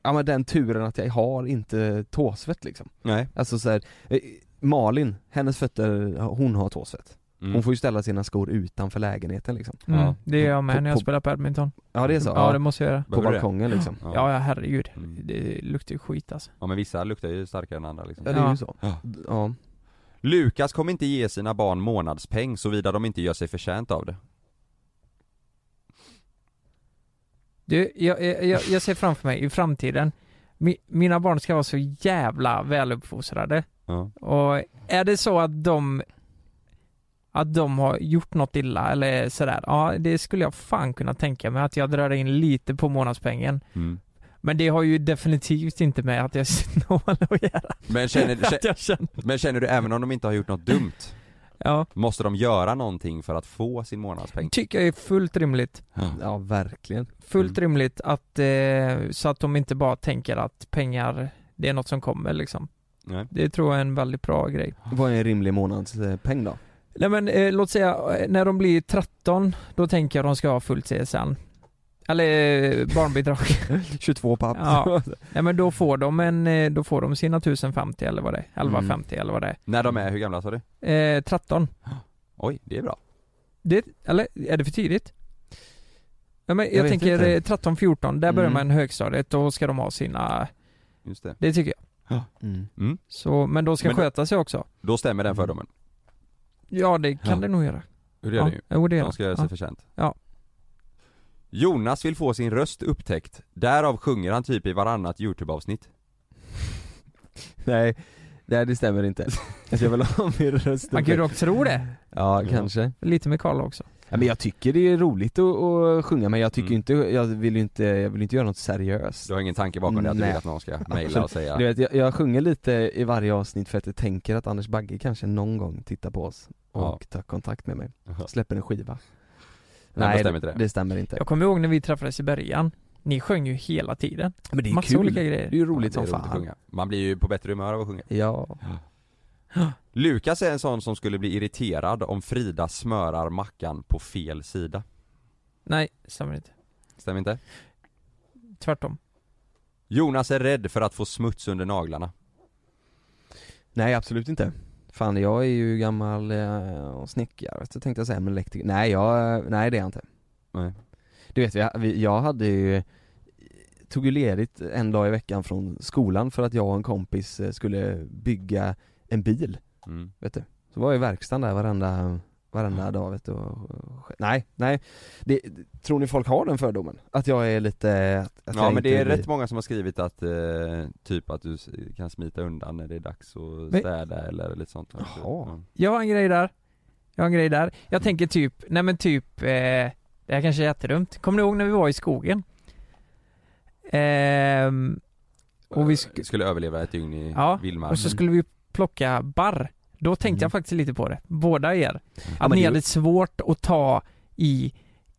ja men den turen att jag har inte tåsvett liksom.
Nej
Alltså så här, eh, Malin, hennes fötter, hon har tåsvett.
mm.
Hon får ju ställa sina skor utanför lägenheten liksom.
Mm,
Ja.
Det gör jag
På-
med när jag
på-
spelar badminton.
Ja det är så?
Ja, det
Ja,
måste jag göra.
på
Behöver du det?
balkongen liksom.
Ja.
Ja, ja herregud.
Mm.
Det luktar ju skit alltså.
ja men vissa luktar ju starkare än andra liksom.
Ja det är
Ja.
ju så.
Ja.
Ja.
Lukas kommer inte ge sina barn månadspeng såvida de inte gör sig förtjänt av det
Du, jag, jag, jag, jag ser framför mig i framtiden, mi, mina barn ska vara så jävla väluppfostrade.
Ja,
Och är det så att de att de har gjort något illa eller sådär, ja det skulle jag fan kunna tänka mig att jag drar in lite på månadspengen.
mm.
Men det har ju definitivt inte med att jag är snål att göra.
men, känner,
Att
kä-
jag känner,
men känner du även om de inte har gjort något dumt,
ja,
måste de göra någonting för att få sin månadspeng?
tycker jag är fullt rimligt.
ja verkligen.
Fullt rimligt att, eh, så att de inte bara tänker att pengar, det är något som kommer liksom.
Nej.
Det tror jag är en väldigt bra grej.
Vad är en rimlig månadspeng då?
Nej men eh, låt säga, eh, när de blir 13, då tänker jag de ska ha fullt CSN. Eller eh, barnbidrag.
22 papp.
Ja. Nej men då får de en, eh, då får de sina 1050 eller vad det är, 1150 eller vad det
När de är, hur gamla sa du?
är. Eh, 13.
Oj, det är bra.
Det, eller är det för tidigt? Ja, men jag,
Jag vet
tänker
inte.
eh, 13, 14, där börjar
Mm.
man högstadiet, då ska de ha sina,
Just det.
det tycker jag.
Mm.
Så, men de ska
Men då-
sköta sig också.
Då stämmer den fördomen.
Ja det kan
Ja.
det nog göra.
Hur
Mm. ja. Jo, det gör
De ska göra sig
ja.
förtjänt.
Ja.
Jonas vill få sin röst upptäckt, därav sjunger han typ i varannat YouTube-avsnitt.
Nej, nej det stämmer inte. Alltså, jag vill ha min röst
Man kan ju dock tro det.
Ja
Ja.
kanske.
Lite med Karl också.
Ja, men jag tycker det är roligt att, att sjunga men jag tycker
Mm.
inte, jag vill ju inte, jag vill inte göra något seriöst.
Du har ingen tanke bakom det att du
Nej.
vill att någon ska mejla och säga
Du vet, jag, jag sjunger lite i varje avsnitt för att jag tänker att Anders Bagge kanske någon gång tittar på oss och
Ja.
tar kontakt med mig,
Jaha.
släpper en skiva
Nej, det stämmer inte det.
det stämmer inte.
Jag kommer ihåg när vi träffades i början. Ni sjöng ju hela tiden.
Men det är
Massa
kul,
olika
det
grejer.
är ju roligt
Ja, det är
som
roligt att
fan.
sjunga. Man blir ju på bättre humör av att sjunga.
Ja,
Lukas är en sån som skulle bli irriterad om Frida smörar mackan på fel sida.
Nej, stämmer inte.
Stämmer inte?
Tvärtom.
Jonas är rädd för att få smuts under naglarna.
nej absolut inte. Fan jag är ju gammal eh, snickare, så tänkte jag säga men elektriker, nej jag, nej det är jag inte
Nej.
Du vet jag, vi- jag hade ju Tog ju ledigt en dag i veckan från skolan för att jag och en kompis eh, skulle bygga en bil,
Mm.
vet du Så var jag i verkstaden där varenda, varenda dag vet du och, och, Nej, nej det, Tror ni folk har den fördomen? Att jag är lite, att, att
Ja
jag
men
inte
det är
blir-
rätt många som har skrivit att, eh, typ att du s- kan smita undan när det är dags att
Men-
städa eller lite sånt Jaha.
Jag har en grej där. Jag har en grej där.
Mm.
Jag tänker typ, nej men typ, eh, det här kanske är jättedumt. Kommer ni ihåg när vi var i skogen? Ehm, och vi sk-
Skulle överleva ett dygn i
ja,
vildmarken
och så skulle vi plocka barr. Då tänkte jag faktiskt lite på det, båda er. Att
Mm. men
ni
det-
hade svårt att ta i,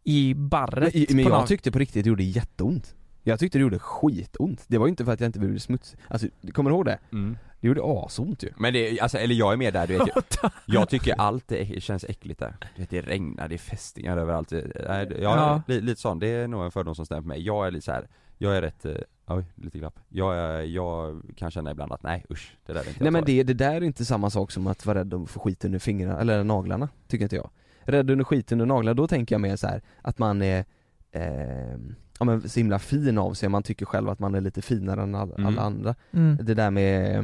i barret
Men, men
på
jag
något-
tyckte på riktigt det gjorde jätteont Jag tyckte det gjorde skitont, det var ju inte för att jag inte ville bli smutsig, alltså kommer du ihåg det?
Mm.
Det gjorde asont ju
Men det, alltså, eller jag är med där du vet jag, jag tycker allt är, känns äckligt där Du vet det regnar, det är fästingar överallt Det- Nej, det- jag,
Ja.
li, lite sån, det är nog en fördom som stämmer på mig Jag är lite så här. jag är rätt, eh, oj lite glapp jag, är, jag kan känna ibland att nej usch, det där är inte
Nej
jag
men
tar.
det, det där är inte samma sak som att vara rädd om att få skit under fingrarna, eller naglarna, tycker inte jag Rädd under skit under naglarna, då tänker jag mer så här att man är eh, Ja men så himla fin av sig, man tycker själv att man är lite finare än all,
Mm.
alla andra
Mm.
Det där med, eh,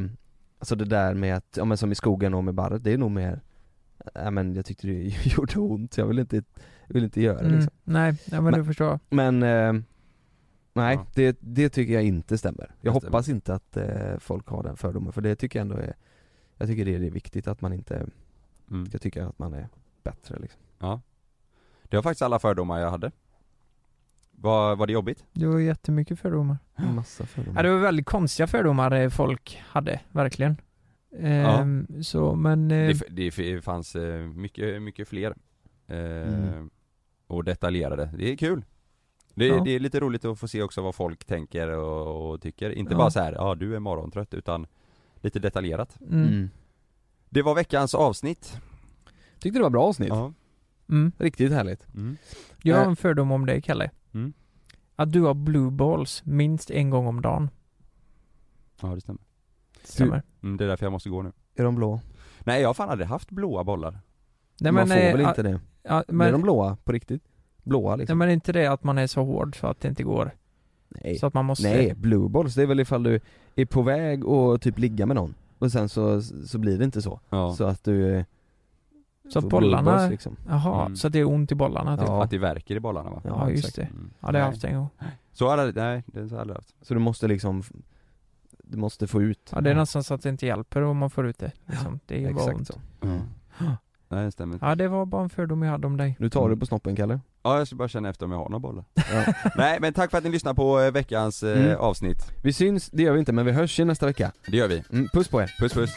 alltså det där med att, ja men som i skogen och med barret, det är nog mer Ja men jag tyckte det gjorde ont, jag vill inte, jag vill inte göra det
Mm.
liksom
Nej, ja, men,
Men-
du förstår.
Men eh, nej,
Ja.
det, det tycker jag inte stämmer. Jag
Det stämmer.
hoppas inte att eh, folk har den fördomen för det tycker jag ändå är Jag tycker det är viktigt att man inte
Mm.
ska tycka att man är bättre liksom.
det var faktiskt alla fördomar jag hade Var, var det jobbigt?
Det var jättemycket fördomar.
Massa
Ja,
fördomar.
det var väldigt konstiga fördomar eh, folk hade, verkligen. Ehm, Så, men... eh,
Det, f- det f- fanns eh, mycket, mycket fler eh,
Mm.
Och detaljerade, det är kul det,
Ja.
det är lite roligt att få se också vad folk tänker och, och tycker, inte
Ja.
bara så här, ja du är morgontrött utan lite detaljerat
mm, mm.
Mm.
Det var veckans avsnitt
Tyckte det var bra avsnitt.
Ja,
Riktigt härligt.
mm.
Jag har
Eh.
en fördom om dig, Kalle.
Mm.
Att du har blue balls minst en gång om dagen.
ja det stämmer
Stämmer.
mm, Det är därför jag måste gå nu
Är de blå?
Nej jag har fan aldrig haft blåa bollar
Nej,
man får
eh,
väl
ja,
inte det?
Ja,
Men... Är
men,
de blåa på riktigt? Blåa
nej,
liksom?
men inte det att man är så hård så att det inte går.
nej.
Så att man måste...
nej, blue balls det är väl ifall du är på väg och typ ligga med någon och sen så, så blir det inte så.
Ja,
Så att du eh,
Så
får blue
att bollarna-
balls, liksom.
Jaha,
Mm.
så att det är ont i bollarna typ. Ja,
Ja.
att det verkar i bollarna va?
Ja,
just
exakt.
det.
Mm.
Ja, det har jag
Nej.
haft en gång.
Så har jag aldrig- nej det har jag aldrig haft
Så du måste liksom Du måste få ut
Ja, det är nästan så att det inte hjälper om man får ut det. Liksom. Det är bara
Exakt
ont.
så
Nej det stämmer inte.
Ja, det var bara en fördom jag hade om dig. Mm.
Nu
Mm.
tar du på snoppen Kalle
Ja jag ska bara känna efter om jag har några bollar
Ja.
Nej men tack för att ni lyssnar på eh, veckans eh,
Mm.
avsnitt
Vi syns, det gör vi inte men vi hörs ju nästa vecka
Det gör vi.
mm, Puss på er
Puss puss.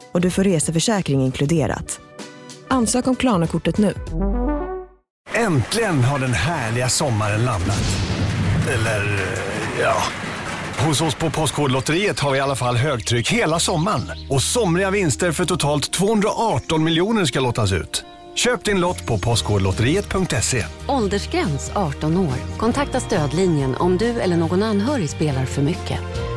och du får reseförsäkring inkluderat. Ansök om Klarna-kortet nu.
Äntligen har den härliga sommaren landat. Eller, ja. Hos oss på Postkodlotteriet har vi i alla fall högtryck hela sommaren. Och somriga vinster för totalt 218 miljoner ska lottas ut. Köp din lott på postkodlotteriet.se.
Åldersgräns 18 år. Kontakta stödlinjen om du eller någon anhörig spelar för mycket.